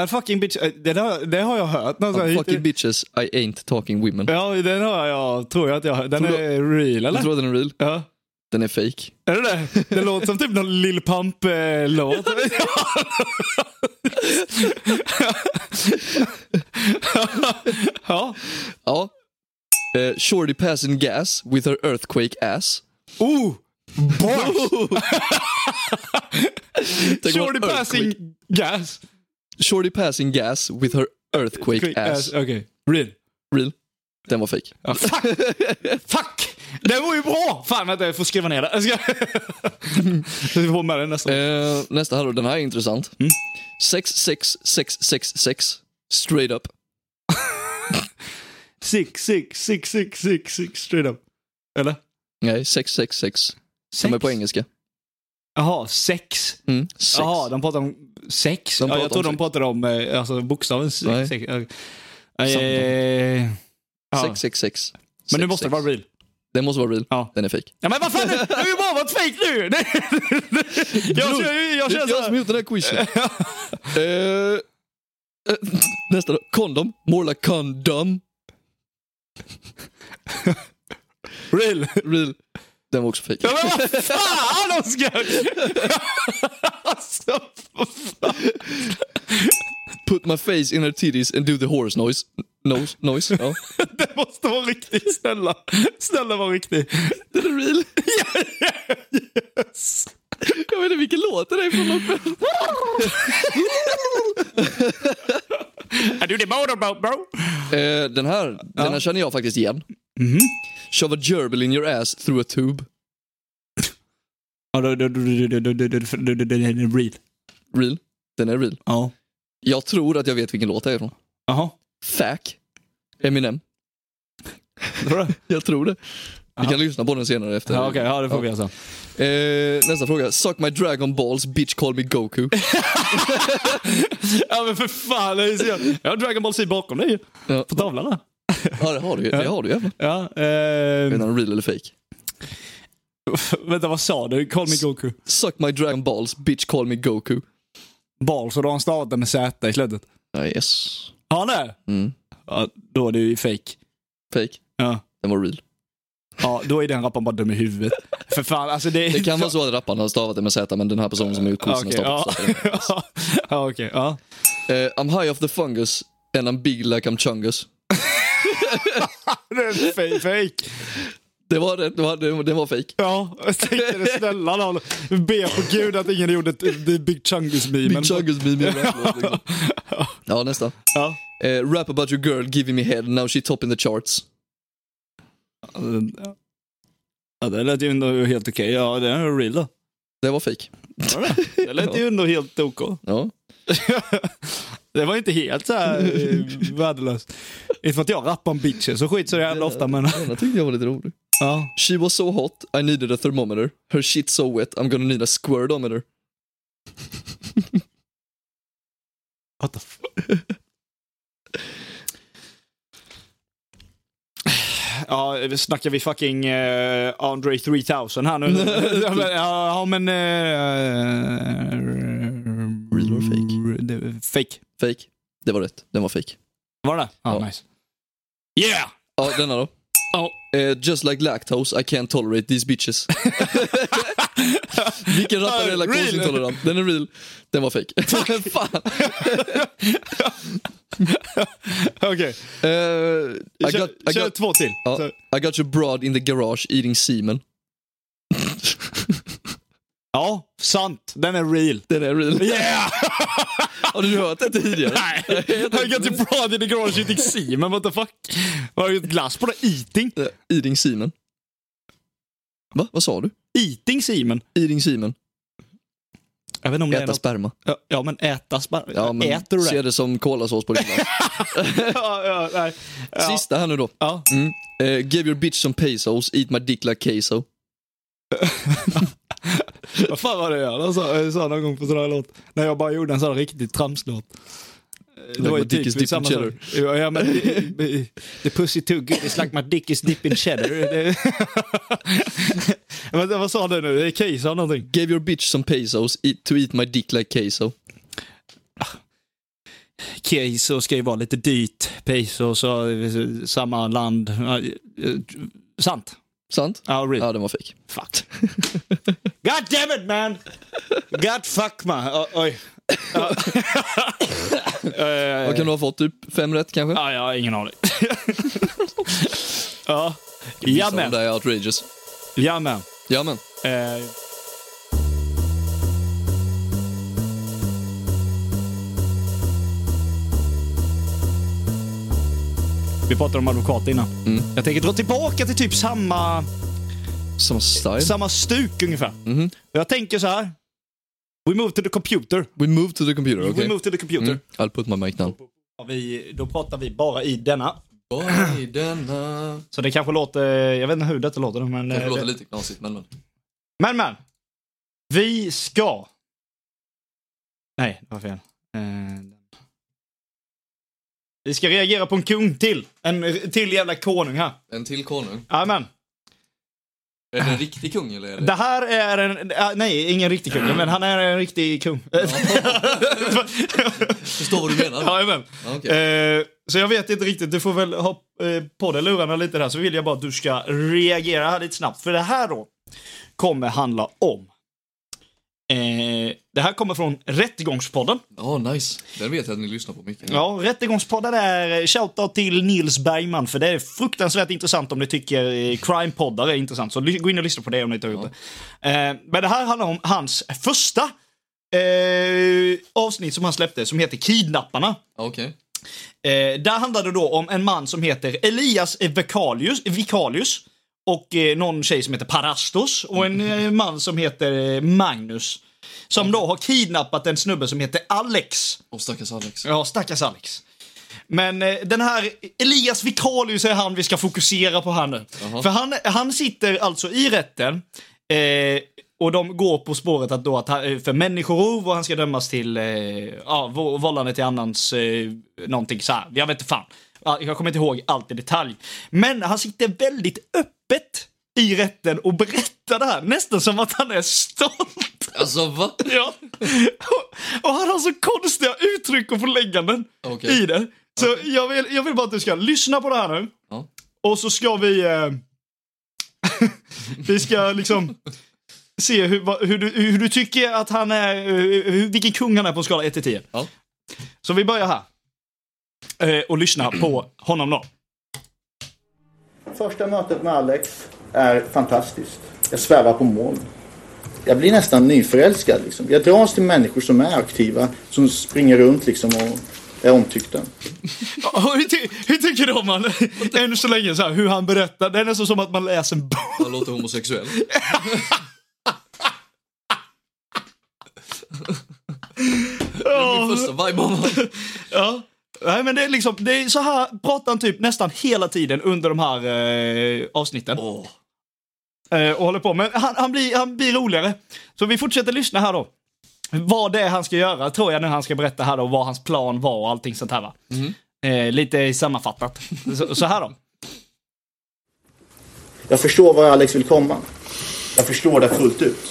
Speaker 1: A fucking bitch. eh, Det, där, det har jag hört.
Speaker 2: I'm
Speaker 1: någonstans.
Speaker 2: fucking bitches, I ain't talking women.
Speaker 1: Alltså, Ja, den har jag. Tror jag att jag Den
Speaker 2: Tror
Speaker 1: är real, eller?
Speaker 2: Jag tror att den är real.
Speaker 1: Ja.
Speaker 2: Den är fake.
Speaker 1: Är det det? Det låter som typ någon Lil Pump-låt. ja.
Speaker 2: Ja. Eh, shorty passing gas with her earthquake ass.
Speaker 1: Oh! Bars!
Speaker 2: Tänk om
Speaker 1: Shorty
Speaker 2: Oh, earthquake-
Speaker 1: passing gas.
Speaker 2: Shorty passing gas with her earthquake ass.
Speaker 1: Okej. Real.
Speaker 2: Real. Den var fake.
Speaker 1: Ja, fuck! fuck! Det var ju bra! Fan vänta, jag får skriva ner det. Jag ska... jag får med den nästa gång.
Speaker 2: Eh, nästa här då, den här är intressant.
Speaker 1: Mm.
Speaker 2: 66666 straight up.
Speaker 1: Six, six, six, six, six, six, straight up. Eller?
Speaker 2: Nej, 666. De är
Speaker 1: Sex?
Speaker 2: på engelska.
Speaker 1: Jaha, sex.
Speaker 2: Mm, sex.
Speaker 1: Jaha, de pratar om sex.
Speaker 2: De
Speaker 1: ja,
Speaker 2: pratar
Speaker 1: jag tror
Speaker 2: om
Speaker 1: de
Speaker 2: sex.
Speaker 1: pratade om eh, alltså, bokstaven
Speaker 2: Nej.
Speaker 1: sex. sex. Eh,
Speaker 2: Samtal.
Speaker 1: eh, ja.
Speaker 2: 666.
Speaker 1: Men nu måste det vara
Speaker 2: real.
Speaker 1: real.
Speaker 2: Den måste vara real.
Speaker 1: Ja.
Speaker 2: Den är fake.
Speaker 1: Ja, men vad fan, det det har ju bara varit fejk nu! Det- jag,
Speaker 2: Bror,
Speaker 1: jag, jag
Speaker 2: Det är
Speaker 1: känner
Speaker 2: jag som
Speaker 1: såhär...
Speaker 2: har gjort den här quizen. Eh, eh, nästa då. Kondom. More like condom.
Speaker 1: Real!
Speaker 2: Real. Den var också fake.
Speaker 1: Ja, men vad fan Oskar! alltså, vad fan.
Speaker 2: Put my face in her titties and do the horse noise. Nose, noise. Ja.
Speaker 1: Det måste vara riktigt, snälla. Snälla var riktig.
Speaker 2: Det är real.
Speaker 1: Yes.
Speaker 2: Jag vet inte vilken låt det är från.
Speaker 1: I do the motorboat bro.
Speaker 2: Eh, den, här, den här känner jag faktiskt igen. Shove a gerbil in your ass through a tube.
Speaker 1: Ja, då- då- då- då- då- då- då- då- då- då- då- då- real.
Speaker 2: Real. Den är real.
Speaker 1: Ja.
Speaker 2: Jag tror att jag vet vilken låt det är från.
Speaker 1: Jaha.
Speaker 2: Fack. Eminem.
Speaker 1: Vadå?
Speaker 2: Jag tror det. Vi kan lyssna på den senare efter.
Speaker 1: Ja, okej. Ja, det får vi göra sen.
Speaker 2: Eh, nästa fråga. Suck my dragon balls, bitch call me Goku.
Speaker 1: Ja, men för fan. det är så jag- Jag har Dragon Ball Z bakom dig ju.
Speaker 2: Ja.
Speaker 1: På tavlan där.
Speaker 2: Ja, det har du ju. Det har du ju. även.
Speaker 1: Ja,
Speaker 2: Jag
Speaker 1: ehm,
Speaker 2: vet inte om det är real eller fake.
Speaker 1: vänta, vad sa du? Call me Goku.
Speaker 2: Suck my dragon balls, bitch call me Goku.
Speaker 1: Ball, så då har han stavat det med Z i slutet.
Speaker 2: Ja, yes.
Speaker 1: Har han det?
Speaker 2: Mm.
Speaker 1: Ja, då är det ju fake.
Speaker 2: Fake.
Speaker 1: Ja.
Speaker 2: Den var real.
Speaker 1: ja, då är den rapparen bara dum i huvudet. För fan, alltså det...
Speaker 2: Det kan vara så att rapparen har stavat det med Z, men den här personen som har gjort
Speaker 1: Ja,
Speaker 2: quizen har
Speaker 1: Okej,
Speaker 2: stavat
Speaker 1: ja.
Speaker 2: det med Z.
Speaker 1: ja, okej. Ja.
Speaker 2: Eh, I'm high off the fungus and I'm big like I'm chungus.
Speaker 1: Det är fake, fake.
Speaker 2: Det var, det, det var, det, det var fake.
Speaker 1: Ja, jag tänkte det snälla nån. Be på gud att ingen gjorde ett, det Big Chungus-memen.
Speaker 2: Big chungus meme. Liksom. Ja, nästa.
Speaker 1: Ja.
Speaker 2: Eh, rap about your girl giving me head, now she top in the charts.
Speaker 1: ja, det lät ju ändå helt okej. Ja, det är real då.
Speaker 2: Det var fake.
Speaker 1: Det lät ju ändå helt OK.
Speaker 2: Ja.
Speaker 1: Det var inte helt så här eh, värdelöst. Inte för att jag rappar om bitches och skit så jävla ofta, men...
Speaker 2: Den här tyckte jag var lite rolig.
Speaker 1: Ja.
Speaker 2: She was so hot, I needed a thermometer. Her shit so wet, I'm gonna need a squirtometer.
Speaker 1: What the f- Ja, snackar vi fucking eh, Andre 3000 här nu? ja, men, ja, men eh,
Speaker 2: Real or fake?
Speaker 1: det- Fake.
Speaker 2: Fake. Det var rätt. Den var fake.
Speaker 1: Var det Ja,
Speaker 2: Ja.
Speaker 1: nice. Yeah!
Speaker 2: Ja, denna då.
Speaker 1: Ja.
Speaker 2: Eh, just like lactose, I can't tolerate these bitches. Vilken rappare är
Speaker 1: Real. Eh,
Speaker 2: laktosintolerant? Den är real. Den var fake. Fan.
Speaker 1: Okej,
Speaker 2: Eh, I,
Speaker 1: kör,
Speaker 2: got, I,
Speaker 1: kör
Speaker 2: got,
Speaker 1: två till.
Speaker 2: ja,
Speaker 1: Så-
Speaker 2: I got your broad in the garage eating semen.
Speaker 1: Ja, sant. Den är real.
Speaker 2: Den är real.
Speaker 1: Yeah!
Speaker 2: Har du hört det tidigare?
Speaker 1: Nej, I got your prod in the garage eating semen, what the fuck? Har du gjort glass på det? Eating?
Speaker 2: Eh, Eating semen. Va? Vad sa du?
Speaker 1: Eating semen?
Speaker 2: Eating semen.
Speaker 1: Jag vet inte om det är
Speaker 2: Äta
Speaker 1: något.
Speaker 2: sperma.
Speaker 1: Ja, Ja, men äta sparv.
Speaker 2: Ja, men
Speaker 1: Äter du
Speaker 2: se
Speaker 1: det?
Speaker 2: det som kolasås på din glass.
Speaker 1: ja, ja, nej. Ja.
Speaker 2: Sista här nu då.
Speaker 1: Ja.
Speaker 2: Mm. Eh, give your bitch some pesos, eat my dick like queso.
Speaker 1: Vad fan var det jag gjorde? sa, jag sa någon gång på sån här låt? När jag bara gjorde en sån riktigt tramslåt. Det typ
Speaker 2: Like my dick is dip in cheddar.
Speaker 1: Ja, ja, men, the pussy too good it's like my dick is dip in cheddar. Det- Vänta, vad sa du nu? Det är Keysa eller någonting?
Speaker 2: Give your bitch some pesos, eat, to eat my dick like queso.
Speaker 1: Keyser ska ju vara lite dyrt. Peso, så samma land. Ja, eh, Sant.
Speaker 2: Sant?
Speaker 1: Ja, real.
Speaker 2: Ja, den var fake.
Speaker 1: Fuck. God damn it man! God fuck man. O- oj. Ja. Eh,
Speaker 2: Vad kan du ha fått? Typ fem rätt kanske?
Speaker 1: ja, jag har ingen aning. ja.
Speaker 2: Vissa av dem
Speaker 1: Jamen.
Speaker 2: där är outrageous.
Speaker 1: Jamen.
Speaker 2: Jamen.
Speaker 1: Eh, Vi pratade om advokat innan.
Speaker 2: Mm.
Speaker 1: Jag tänker dra tillbaka till typ samma,
Speaker 2: Som style.
Speaker 1: samma stuk ungefär.
Speaker 2: Mhm.
Speaker 1: Jag tänker så här. We move to the computer.
Speaker 2: We move to the computer, okej.
Speaker 1: We move to the computer.
Speaker 2: Mm. I'll put my mic down.
Speaker 1: Ja, Vi, då pratar vi bara i denna.
Speaker 2: Bara i denna...
Speaker 1: Så det kanske låter, jag vet inte hur detta låter. Men,
Speaker 2: Det
Speaker 1: eh,
Speaker 2: låter
Speaker 1: det-
Speaker 2: lite knasigt men men.
Speaker 1: men, men. Vi ska. Nej, det var fel. Eh, Vi ska reagera på en kung till. En till jävla konung här.
Speaker 2: En till
Speaker 1: Äh.
Speaker 2: konung.
Speaker 1: Amen.
Speaker 2: Är det en riktig kung eller? Är
Speaker 1: Det här är en, äh, nej, ingen riktig kung, men han är en riktig kung.
Speaker 2: Förstår vad du menar.
Speaker 1: Jajamän.
Speaker 2: Ja, okej.
Speaker 1: Eh, så jag vet inte riktigt, du får väl ha eh, på dig lurarna lite där så vill jag bara att du ska reagera här lite snabbt. För det här då kommer handla om. Eh, det här kommer från Rättegångspodden.
Speaker 2: Ja, nice. Den vet jag att ni lyssnar på mycket.
Speaker 1: Ja, Rättegångspodden är eh, shoutout till Nils Bergman för det är fruktansvärt intressant om ni tycker eh, crime-poddar är intressant. Så ly- gå in och lyssna på det om ni inte har gjort det. Eh, men det här handlar om hans första eh, avsnitt som han släppte som heter Kidnapparna.
Speaker 2: Ja, Okej.
Speaker 1: Eh, där handlade det då om en man som heter Elias Vikalius, Vikalius och eh, någon tjej som heter Parastos och en eh, man som heter eh, Magnus. Som då har kidnappat en snubbe som heter Alex.
Speaker 2: Och stackars Alex.
Speaker 1: Ja, stackars Alex. Men eh, den här Elias Vitalius är han vi ska fokusera på här nu. För han, han sitter alltså i rätten eh, och de går på spåret att då att han, eh, för människorov och han ska dömas till eh, ja, vå- vållande till annans eh, någonting så här. Jag vet inte fan. Ja, Jag kommer inte ihåg allt i detalj. Men han sitter väldigt öppet i rätten och berättar det här nästan som att han är stolt.
Speaker 2: Alltså va?
Speaker 1: Ja. Och, och han har så konstiga uttryck och förlägganden
Speaker 2: Okej.
Speaker 1: i det. Så jag, vill, jag vill bara att du ska lyssna på det här nu.
Speaker 2: Ja.
Speaker 1: Och så ska vi... Eh, vi ska liksom se hur, vad- hur, du, hur du tycker att han är... eh, Hur, vilken kung han är på en skala 1 till 10.
Speaker 2: Ja.
Speaker 1: Så vi börjar här. Eh, och lyssna på honom då.
Speaker 3: Första mötet med Alex är fantastiskt. Jag svävar på moln. Jag blir nästan nyförälskad. Liksom. Jag dras till människor som är aktiva, som springer runt liksom, och är omtyckta.
Speaker 1: Ja, Hur, ty, hur tycker du om han? Än så länge, så här, hur han berättar. Det är nästan som att man läser en bok.
Speaker 2: Han låter homosexuell. Min första vibe av honom.
Speaker 1: Ja. Nej, men det är liksom, det är så här pratar han typ nästan hela tiden under de här eh, avsnitten.
Speaker 2: Åh.
Speaker 1: Eh, och håller på. Men han, han, blir, han blir roligare. Så vi fortsätter lyssna här då. Vad det är han ska göra tror jag när han ska berätta här då, vad hans plan var och allting sånt här va.
Speaker 2: Mm.
Speaker 1: Eh, lite sammanfattat. Så, så här då.
Speaker 3: Jag förstår var Alex vill komma. Jag förstår det fullt ut.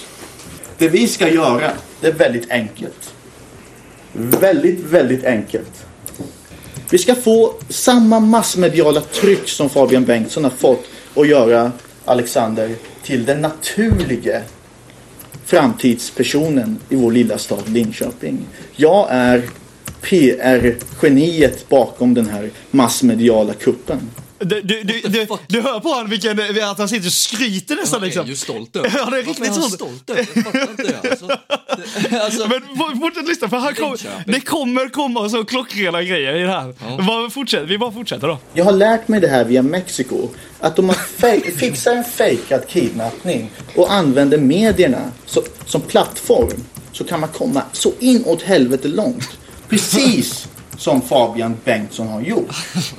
Speaker 3: Det vi ska göra, det är väldigt enkelt. Väldigt, väldigt enkelt. Vi ska få samma massmediala tryck som Fabian Bengtsson har fått och göra Alexander till den naturlige framtidspersonen i vår lilla stad Linköping. Jag är PR-geniet bakom den här massmediala kuppen.
Speaker 1: Du, du, du, du, du hör på han vilken, att han sitter och skryter nästan
Speaker 2: Han är
Speaker 1: liksom.
Speaker 2: ju stolt över
Speaker 1: Ja, det är
Speaker 2: Varför
Speaker 1: riktigt
Speaker 2: är han
Speaker 1: stolt.
Speaker 2: stolt över det? Jag fattar inte det. Alltså, det alltså,
Speaker 1: Men f- fortsätt lyssna för han kom,
Speaker 2: Linköping.
Speaker 1: det kommer komma så klockrena grejer i det här. Bara fortsätt, vi bara fortsätter då.
Speaker 3: Jag har lärt mig det här via Mexiko. Att om man fe- fixar en fejkad kidnappning och använder medierna så, som plattform så kan man komma så inåt helvete långt. Precis som Fabian Bengtsson har gjort.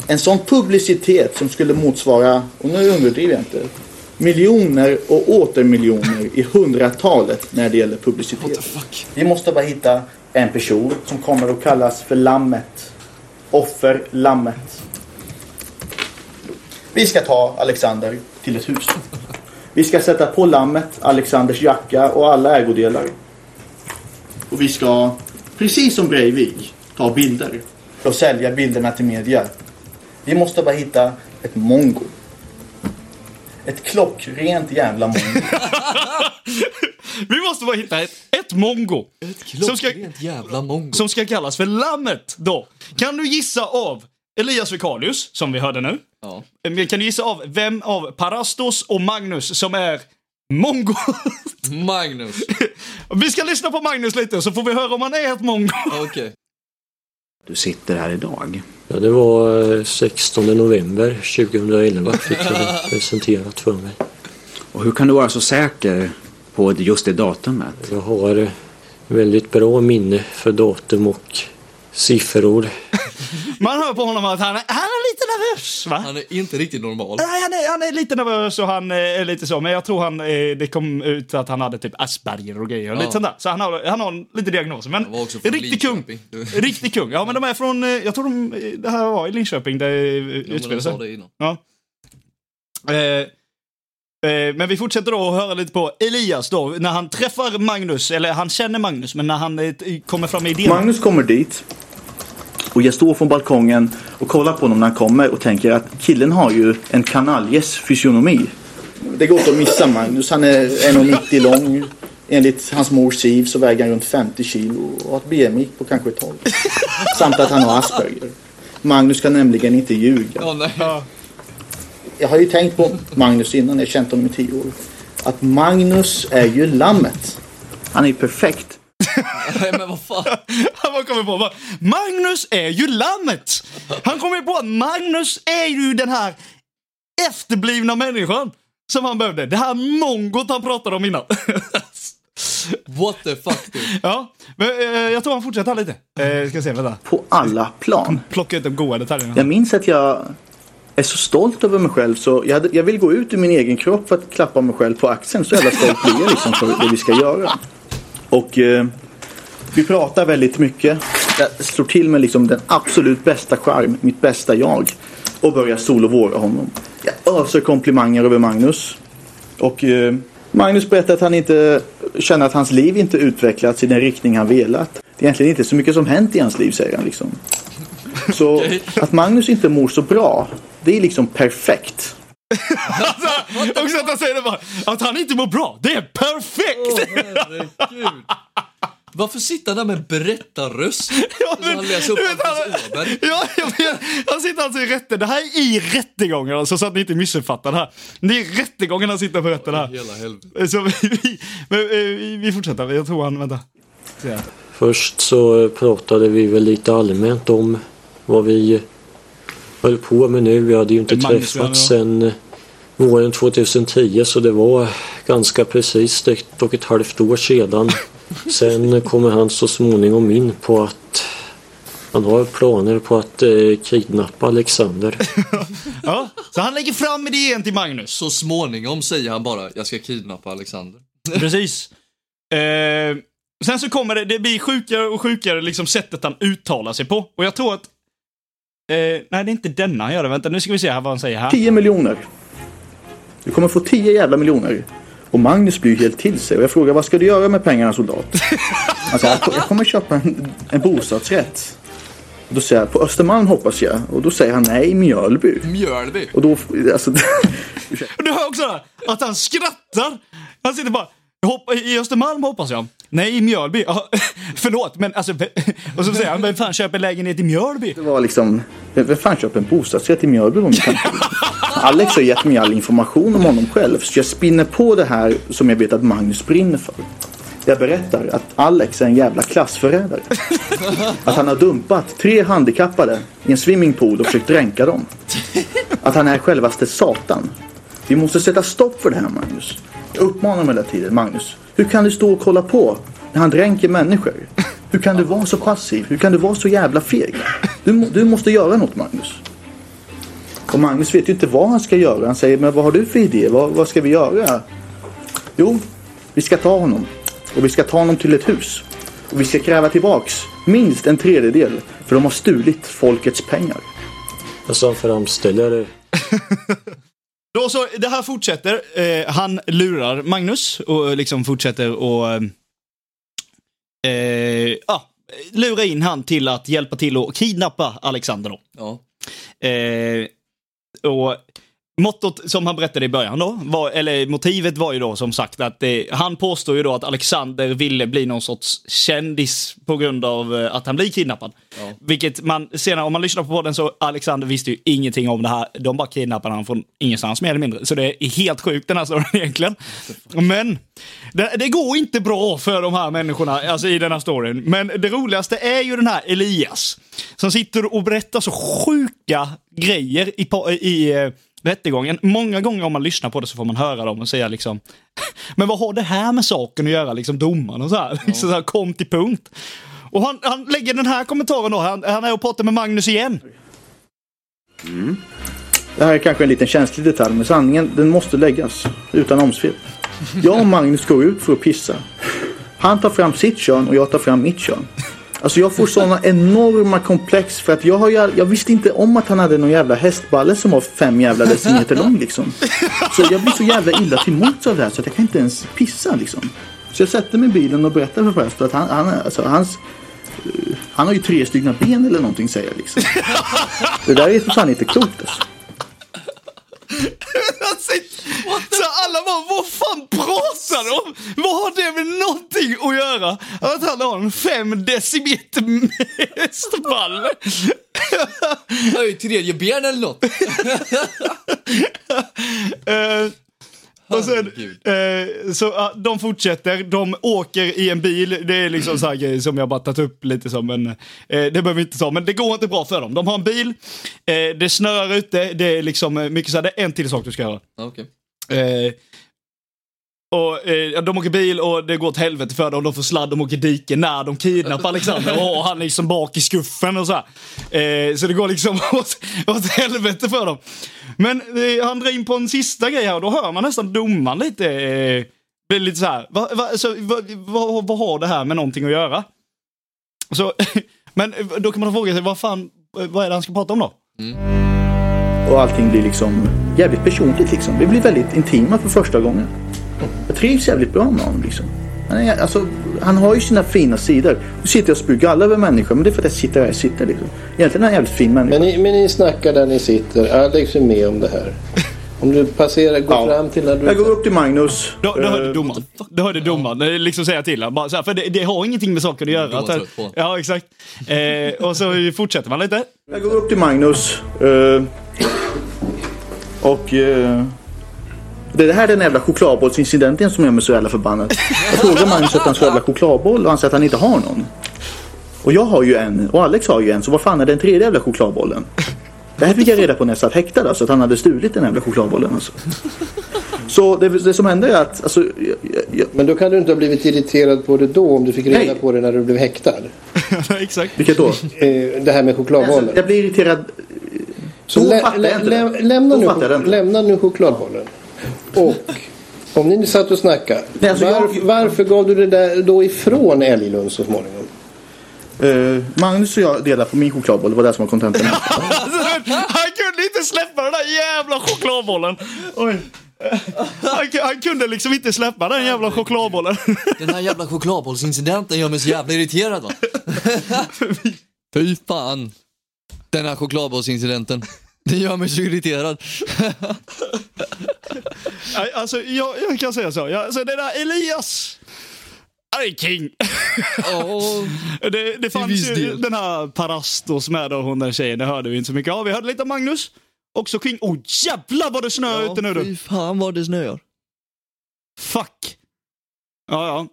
Speaker 3: En sån publicitet som skulle motsvara, och nu överdriver jag inte, miljoner och åter miljoner i hundratalet när det gäller publicitet.
Speaker 2: fuck.
Speaker 3: Vi måste bara hitta en person som kommer att kallas för Lammet. Offerlammet. Vi ska ta Alexander till ett hus. Vi ska sätta på Lammet, Alexanders jacka och alla ägodelar. Och vi ska, precis som Breivik, ta bilder. Och sälja bilderna till media. Vi måste bara hitta ett mongo. Ett klockrent jävla mongo.
Speaker 1: Vi måste bara hitta ett, ett mongo. som, ska,
Speaker 2: Klockrent jävla mongo.
Speaker 1: som ska kallas för Lammet då. Kan du gissa av Elias Vikalius, som vi hörde nu.
Speaker 2: Ja.
Speaker 1: Eh, Kan du gissa av vem av Parastos och Magnus som är mongo?
Speaker 2: Magnus.
Speaker 1: vi ska lyssna på Magnus lite så får vi höra om han är ett mongo.
Speaker 2: Okej.
Speaker 4: Du sitter här idag.
Speaker 5: Ja, det var eh, 16 november 2011 fick jag det presenterat för mig.
Speaker 4: Och hur kan du vara så säker på just det datumet?
Speaker 5: Jag har eh, väldigt bra minne för datum och siffror.
Speaker 1: Man hör på honom att han, han är lite nervös, va?
Speaker 2: Han är inte riktigt normal.
Speaker 1: Nej, han är, han är lite nervös och han eh, är lite så, men jag tror han, eh, det kom ut att han hade typ Asperger och grejer. och Lite sånt där. Så han har, han har en, lite diagnos. Men
Speaker 2: Han var också från
Speaker 1: riktig kung.
Speaker 2: Linköping.
Speaker 1: Riktig kung. Ja, men de är från, eh, jag tror de, eh, det här var i Linköping det eh, utspelade sig. Ja. Eh, eh, men vi fortsätter då att höra lite på Elias då, när han träffar Magnus, eller han känner Magnus, men när han eh, t- kommer fram med idén.
Speaker 3: Magnus kommer dit och jag står från balkongen och kollar på honom när han kommer och tänker att killen har ju en kanaljes fysionomi. Det går inte att missa Magnus. Han är 1,90 lång. Enligt hans mor Siv så väger han runt 50 kilo och har ett BMI på kanske 12. Samt att han har Asperger. Magnus kan nämligen inte ljuga.
Speaker 2: Ja, nej.
Speaker 3: Jag har ju tänkt på Magnus innan, jag har känt honom i tio år. Att Magnus är ju lammet. Han är ju perfekt.
Speaker 2: nej, men vad fan.
Speaker 1: Han bara kommer på bara, Magnus är ju lammet! Han kommer på att Magnus är ju den här efterblivna människan som han behövde. Det här mongot han pratade om innan.
Speaker 2: What the fuck, dude.
Speaker 1: ja, men, eh, jag tror han fortsätter här lite. Eh, ska se, vänta.
Speaker 3: På alla plan.
Speaker 1: Plocka ut de goa detaljerna.
Speaker 3: Jag minns att jag är så stolt över mig själv så jag, hade, jag vill gå ut ur min egen kropp för att klappa mig själv på axeln. Så jävla stolt blir jag liksom för det vi ska göra. Och eh, vi pratar väldigt mycket. Jag slår till med liksom den absolut bästa charm, mitt bästa jag. Och börjar solovåra honom. Jag öser komplimanger över Magnus. Och eh, Magnus berättar att han inte känner att hans liv inte utvecklats i den riktning han velat. Det är egentligen inte så mycket som hänt i hans liv säger han liksom. Så att Magnus inte mår så bra, det är liksom perfekt.
Speaker 1: Alltså, också att han säger det bara, att han inte mår bra. Det är perfekt!
Speaker 2: Oh. Herregud. Varför sitter han där med berättarröst?
Speaker 1: Ja,
Speaker 2: Så han läser upp
Speaker 1: du vet,
Speaker 2: Hampus
Speaker 1: han,
Speaker 2: Åberg.
Speaker 1: ja, jag vet. han sitter alltså i rätten. Det här är i rättegången alltså, så att ni inte missuppfattar det här. Det är rättegången han sitter på rätten här. Eh,
Speaker 2: Hela helvete.
Speaker 1: Så vi, vi, men, eh, vi- vi fortsätter. Jag tror han, vänta. Så här.
Speaker 5: Först så eh, pratade vi väl lite allmänt om vad vi höll på med nu. Vi hade ju inte
Speaker 1: Eh, Magnus,
Speaker 5: träffats
Speaker 1: ja.
Speaker 5: sen eh, våren 2010 så det var ganska precis ett och ett halvt år sedan. Sen eh, kommer han så småningom in på att han har planer på att eh, kidnappa Alexander.
Speaker 1: Ja, så han lägger fram idén till Magnus.
Speaker 2: Så småningom säger han bara, jag ska kidnappa Alexander.
Speaker 1: Precis. Eh, sen så kommer det, det blir sjukare och sjukare liksom sättet han uttalar sig på. Och jag tror att... Eh, nej, det är inte denna han gör det. Vänta, nu ska vi se här vad han säger här.
Speaker 3: 10 miljoner. Du kommer få 10 jävla miljoner. Och Magnus blir ju helt till sig och jag frågar vad ska du göra med pengarna soldat? Han säger jag kommer köpa en, en bostadsrätt. Och då säger jag på Östermalm hoppas jag. Och då säger han nej Mjölby.
Speaker 2: Mjölby.
Speaker 3: Och då, alltså,
Speaker 1: Och Du hör också det här, att han skrattar. Han sitter bara hopp, i Östermalm hoppas jag. Nej, i Mjölby. Ja, förlåt, men alltså... Och så säger han, vem fan köper lägenhet i Mjölby?
Speaker 3: det var liksom, vem vem fan köper en bostadsrätt i Mjölby om du kan? Alex har gett mig all information om honom själv så jag spinner på det här som jag vet att Magnus brinner för. Jag berättar att Alex är en jävla klassförrädare. Att han har dumpat tre handikappade i en swimmingpool och försökt dränka dem. Att han är självaste satan. Vi måste sätta stopp för det här Magnus. Jag uppmanar honom hela tiden. Magnus, hur kan du stå och kolla på när han dränker människor? Hur kan du vara så passiv? Hur kan du vara så jävla feg? Du, må- du måste göra något Magnus. Och Magnus vet ju inte vad han ska göra. Han säger, men vad har du för idé? Vad, vad ska vi göra? Jo, vi ska ta honom. Och vi ska ta honom till ett hus. Och vi ska kräva tillbaks minst en tredjedel. För de har stulit folkets pengar.
Speaker 5: Alltså han framställer det
Speaker 1: Då så, det här fortsätter. Eh, han lurar Magnus och liksom fortsätter och... eh, Eh, ja, lura in han till att hjälpa till att kidnappa Alexander då.
Speaker 2: Ja.
Speaker 1: Eh, och Mottot som han berättade i början då, var, eller motivet var ju då som sagt att eh, han påstår ju då att Alexander ville bli någon sorts kändis på grund av eh, att han blir kidnappad. Vilket man senare, om man lyssnar på podden så Alexander visste ju ingenting om det här. De bara kidnappade han från ingenstans mer eller mindre. Så det är helt sjukt den här storyn egentligen. Men det, det går inte bra för de här människorna alltså, i den här storyn. Men det roligaste är ju den här Elias som sitter och berättar så sjuka grejer i, po- i eh, rättegången. Många gånger om man lyssnar på det så får man höra dem och säga liksom Men vad har det här med saken att göra, liksom domaren och så här. Liksom så här kom till punkt. Och han, han lägger den här kommentaren då, han, han är och pratar med Magnus igen.
Speaker 3: Det här är kanske en liten känslig detalj, men sanningen den måste läggas utan omsvep. Jag och Magnus går ut för att pissa. Han tar fram sitt kön och jag tar fram mitt kön. Alltså jag får sådana enorma komplex för att jag, har, ju- jag visste inte om att han hade någon jävla hästballe som var fem jävla decimeter lång liksom. Så jag blir så jävla illa till mots av det här så att jag kan inte ens pissa liksom. Så jag sätter mig i bilen och berättar för Preston att han, han, är- alltså, hans, eh, han har ju tre stycken ben eller någonting säger jag liksom. Det där är för fan inte klokt alltså.
Speaker 1: Han sitter- Så alla bara, vad fan pratar de om? Vad har det med någonting att göra? Att han har en fem decimeter hästballe.
Speaker 6: Han har ju tredje ben eller något.
Speaker 1: Eh, och sen,
Speaker 6: Herregud.
Speaker 1: eh, så ja, de fortsätter, de åker i en bil. Det är liksom så här grejer som jag bara tagit upp lite som en... Eh, det behöver vi inte ta, men det går inte bra för dem. De har en bil, eh, det snöar ute, det är liksom eh, mycket så här, det är en till sak du ska göra.
Speaker 6: Ja, okej.
Speaker 1: Eh, och, eh, ja, de åker bil och det går åt helvete för dem. De får sladd, de åker diken när de kidnappar Alexander och har han liksom bak i skuffen och så här. Eh, så det går liksom åt, åt helvete för dem. Men eh, han drar in på en sista grej här och då hör man nästan domaren lite, eh, blir lite så här. Va, va, så, va, va, vad har det här med någonting att göra? Så, men eh, då kan man fråga sig, vad fan, eh, vad är det han ska prata om då?
Speaker 3: Och allting blir liksom jävligt personligt liksom. Vi blir väldigt intima för första gången. Jag trivs jävligt bra med honom liksom. Han, är, alltså, han har ju sina fina sidor. Nu sitter jag och spyr galla över människor men det är för att jag sitter här jag sitter liksom. Egentligen är han en jävligt fin människa.
Speaker 7: Men ni, men ni snackar där ni sitter. Alex är med om det här. Om du passerar, går
Speaker 3: Ja.
Speaker 7: fram till när du...
Speaker 3: Jag går upp till Magnus.
Speaker 1: Då, då hörde
Speaker 3: Eh,
Speaker 1: domaren. Då hörde domaren eh, liksom säga till honom. Bara så här, för det, det har ingenting med saken att göra.
Speaker 6: Domaren
Speaker 1: Att,
Speaker 6: trött på honom.
Speaker 1: ja, exakt. Eh, och så fortsätter man lite.
Speaker 3: Jag går upp till Magnus. eh, och... eh, det är det här den jävla chokladbollsincidenten som gör mig så jävla förbannad. Jag frågar Magnus att han ska ha jävla chokladboll och han säger att han inte har någon. Och jag har ju en och Alex har ju en så vad fan är den tredje jävla chokladbollen? Det här fick jag reda på när jag satt häktad alltså att han hade stulit den jävla chokladbollen alltså. Så det, det som hände är att alltså, jag, jag,
Speaker 7: Men då kan du inte ha blivit irriterad på det då om du fick reda
Speaker 3: Nej.
Speaker 7: på det när du blev häktad.
Speaker 1: exakt.
Speaker 3: vilket då?
Speaker 7: Eh, det här med
Speaker 3: Alltså,
Speaker 7: chokladbollen.
Speaker 3: jag blir irriterad.
Speaker 7: Så
Speaker 3: Då
Speaker 7: lä-
Speaker 3: fattar jag
Speaker 7: lä-
Speaker 3: inte
Speaker 7: lä-
Speaker 3: Alltså, det.
Speaker 7: lämna,
Speaker 3: Då
Speaker 7: nu,
Speaker 3: fattar jag det inte.
Speaker 7: lämna nu chokladbollen. Och om ni nu satt och snackade.
Speaker 3: Nej, alltså, jag-
Speaker 7: varf- Varför gav du det där då ifrån Älglund så småningom?
Speaker 3: Eh, Magnus och jag delar på min chokladboll, det var det som var kontentan.
Speaker 1: Alltså, han kunde inte släppa den där jävla chokladbollen. Oj. Han, ku- han kunde liksom inte släppa den jävla chokladbollen.
Speaker 6: Den här jävla chokladbollsincidenten gör mig så jävla irriterad va.
Speaker 2: Fy fan. Den här chokladbollsincidenten. Den gör mig så irriterad.
Speaker 1: Nej, Alltså, jag, jag kan säga så. Jag, alltså, det där Elias. Han är king.
Speaker 2: Åh.
Speaker 1: Det, det fanns
Speaker 2: viss
Speaker 1: ju
Speaker 2: del.
Speaker 1: den här Parastos med då, hon där tjejen. Det hörde vi inte så mycket av. Vi hörde lite om Magnus. Också king. Oh jävlar vad det snöar
Speaker 2: Ja,
Speaker 1: ute nu du.
Speaker 2: fy fan vad det snöar.
Speaker 1: Fuck. Ja, ja.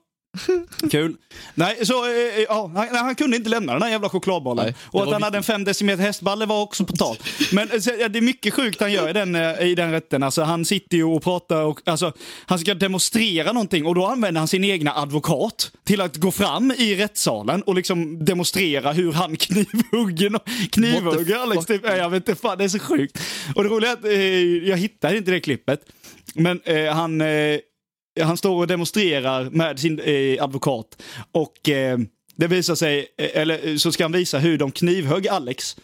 Speaker 1: Kul. Nej, så, eh, eh, ja, han, nej, han kunde inte lämna den här jävla chokladbollen.
Speaker 2: Nej, det
Speaker 1: och
Speaker 2: var
Speaker 1: att han hade en fem decimeter hästballe var också på tal. Men eh, så, ja, det är mycket sjukt han gör i den, eh, i den rätten. Alltså, han sitter ju och pratar och alltså, han ska demonstrera någonting och då använder han sin egna advokat till att gå fram i rättssalen och liksom demonstrera hur han knivhugger, knivhugger Alex. Typ, Nej, jag vet inte, fan, det är så sjukt. Och det roliga är att eh, jag hittar inte det klippet. Men eh, han... Eh, han står och demonstrerar med sin eh, advokat och eh, det visar sig, eh, eller eh, så ska han visa hur de knivhögg Alex.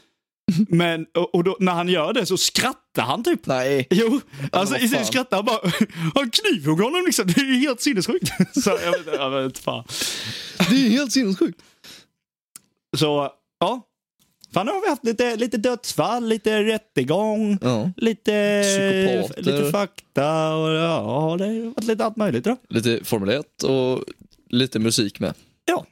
Speaker 1: Men, och, och då, när han gör det så skrattar han typ.
Speaker 2: Nej.
Speaker 1: Jo, alltså
Speaker 2: vad
Speaker 1: i sin
Speaker 2: fan.
Speaker 1: skrattar han bara, han knivhugg honom liksom. Det är ju helt sinnessjukt. Så jag vet, jag vet fan.
Speaker 2: Det är helt sinnessjukt.
Speaker 1: Så, ja. Fan, nu har vi haft lite, lite dödsfall, lite rättegång,
Speaker 2: Ja.
Speaker 1: lite,
Speaker 2: Psykopater.
Speaker 1: lite fakta och ja, det har varit lite allt möjligt. Då.
Speaker 2: Lite Formel 1 och lite musik med.
Speaker 1: Ja.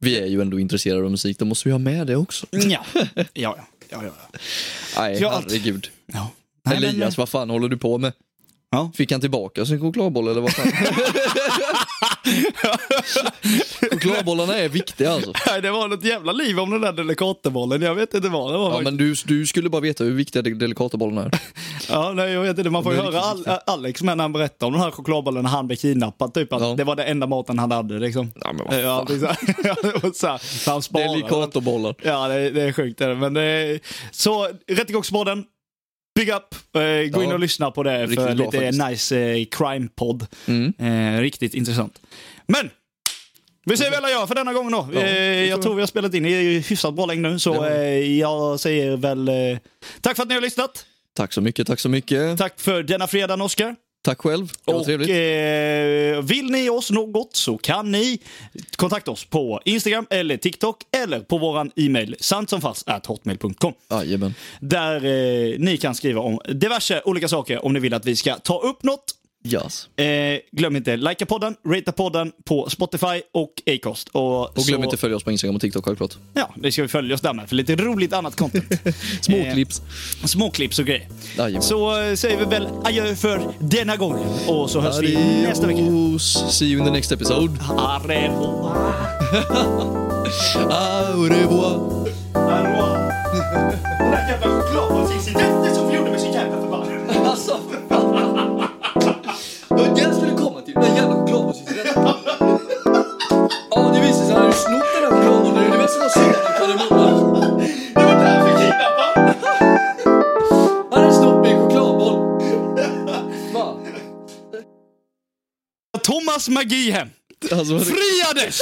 Speaker 2: Vi är ju ändå intresserade av musik, då måste vi ha med det också.
Speaker 1: Ja. ja, ja, ja. ja, ja.
Speaker 2: Nej,
Speaker 1: Ja, allt.
Speaker 2: herregud.
Speaker 1: ja.
Speaker 2: Elias, vad fan håller du på med?
Speaker 1: Ja.
Speaker 2: Fick han tillbaka sin chokladboll eller vad fan? Chokladbollarna är viktiga alltså.
Speaker 1: Nej, det var något jävla liv om den där delikatebollen. Jag vet inte vad det var.
Speaker 2: Ja, men du, du skulle bara veta hur viktiga de- delikatabollarna är.
Speaker 1: Ja, nej, jag vet inte. Man får ju
Speaker 2: Det är
Speaker 1: höra Al- Ä- Alex med när han berättar om den här chokladbollen när han blev kidnappad. Typ att
Speaker 2: Ja.
Speaker 1: det var det enda maten han hade. Liksom.
Speaker 2: Ja, men vad
Speaker 1: ja, det är så här, och så här, så han sparade.
Speaker 2: Delikatabollar.
Speaker 1: Ja, det, det är sjukt. det är det. Men det är... Så, Rättegångsmodden. Big up! Eh, gå in
Speaker 2: Ja.
Speaker 1: och lyssna på det
Speaker 2: Riktigt
Speaker 1: för
Speaker 2: bra
Speaker 1: lite
Speaker 2: faktiskt.
Speaker 1: nice eh, crime-podd.
Speaker 2: Mm.
Speaker 1: Eh, riktigt intressant. Men! Vi säger väl adjö för denna gången då.
Speaker 2: Ja,
Speaker 1: eh,
Speaker 2: det tror
Speaker 1: jag tror vi har spelat in i hyfsat bra längd nu, så
Speaker 2: Ja.
Speaker 1: eh, jag säger väl eh, tack för att ni har lyssnat.
Speaker 2: Tack så mycket, tack så mycket.
Speaker 1: Tack för denna fredag, Oskar.
Speaker 2: Tack själv, det var
Speaker 1: Och
Speaker 2: trevligt.
Speaker 1: eh, vill ni oss något så kan ni kontakta oss på Instagram eller TikTok eller på våran e-mail santsomfast@hotmail.com
Speaker 2: Jajamän.
Speaker 1: där eh, ni kan skriva om diverse olika saker om ni vill att vi ska ta upp något.
Speaker 2: Yes.
Speaker 1: Eh, glöm inte likea podden, ratea podden på Spotify och Acast. Och,
Speaker 2: Och glöm
Speaker 1: så-
Speaker 2: inte följa oss på Instagram och TikTok självklart.
Speaker 1: Ja, det ska vi följa oss där med för lite roligt annat content.
Speaker 2: Småklipps.
Speaker 1: Småklipps och grejer.
Speaker 2: Jajamän.
Speaker 1: Så eh, säger vi väl adjö för denna gången och så hörs vi nästa vecka.
Speaker 2: Adios. See you in the next episode.
Speaker 1: Arrevo.
Speaker 2: Au revoir.
Speaker 1: Hallå! Den där jävla chokladbollsincidenten som vi gjorde med sin jävla förbannade...
Speaker 6: Alltså, för fan. Det var den skulle komma till. Den där jävla chokladbollsincidenten. Ja, det visade sig att han hade snott den där chokladbollen. Det är det mest jag har sett i kardemumman.
Speaker 1: Det var därför jag kidnappade!
Speaker 6: Han hade snott min chokladboll. Fan.
Speaker 1: Thomas Magi hem.
Speaker 2: Alltså,
Speaker 1: Friades!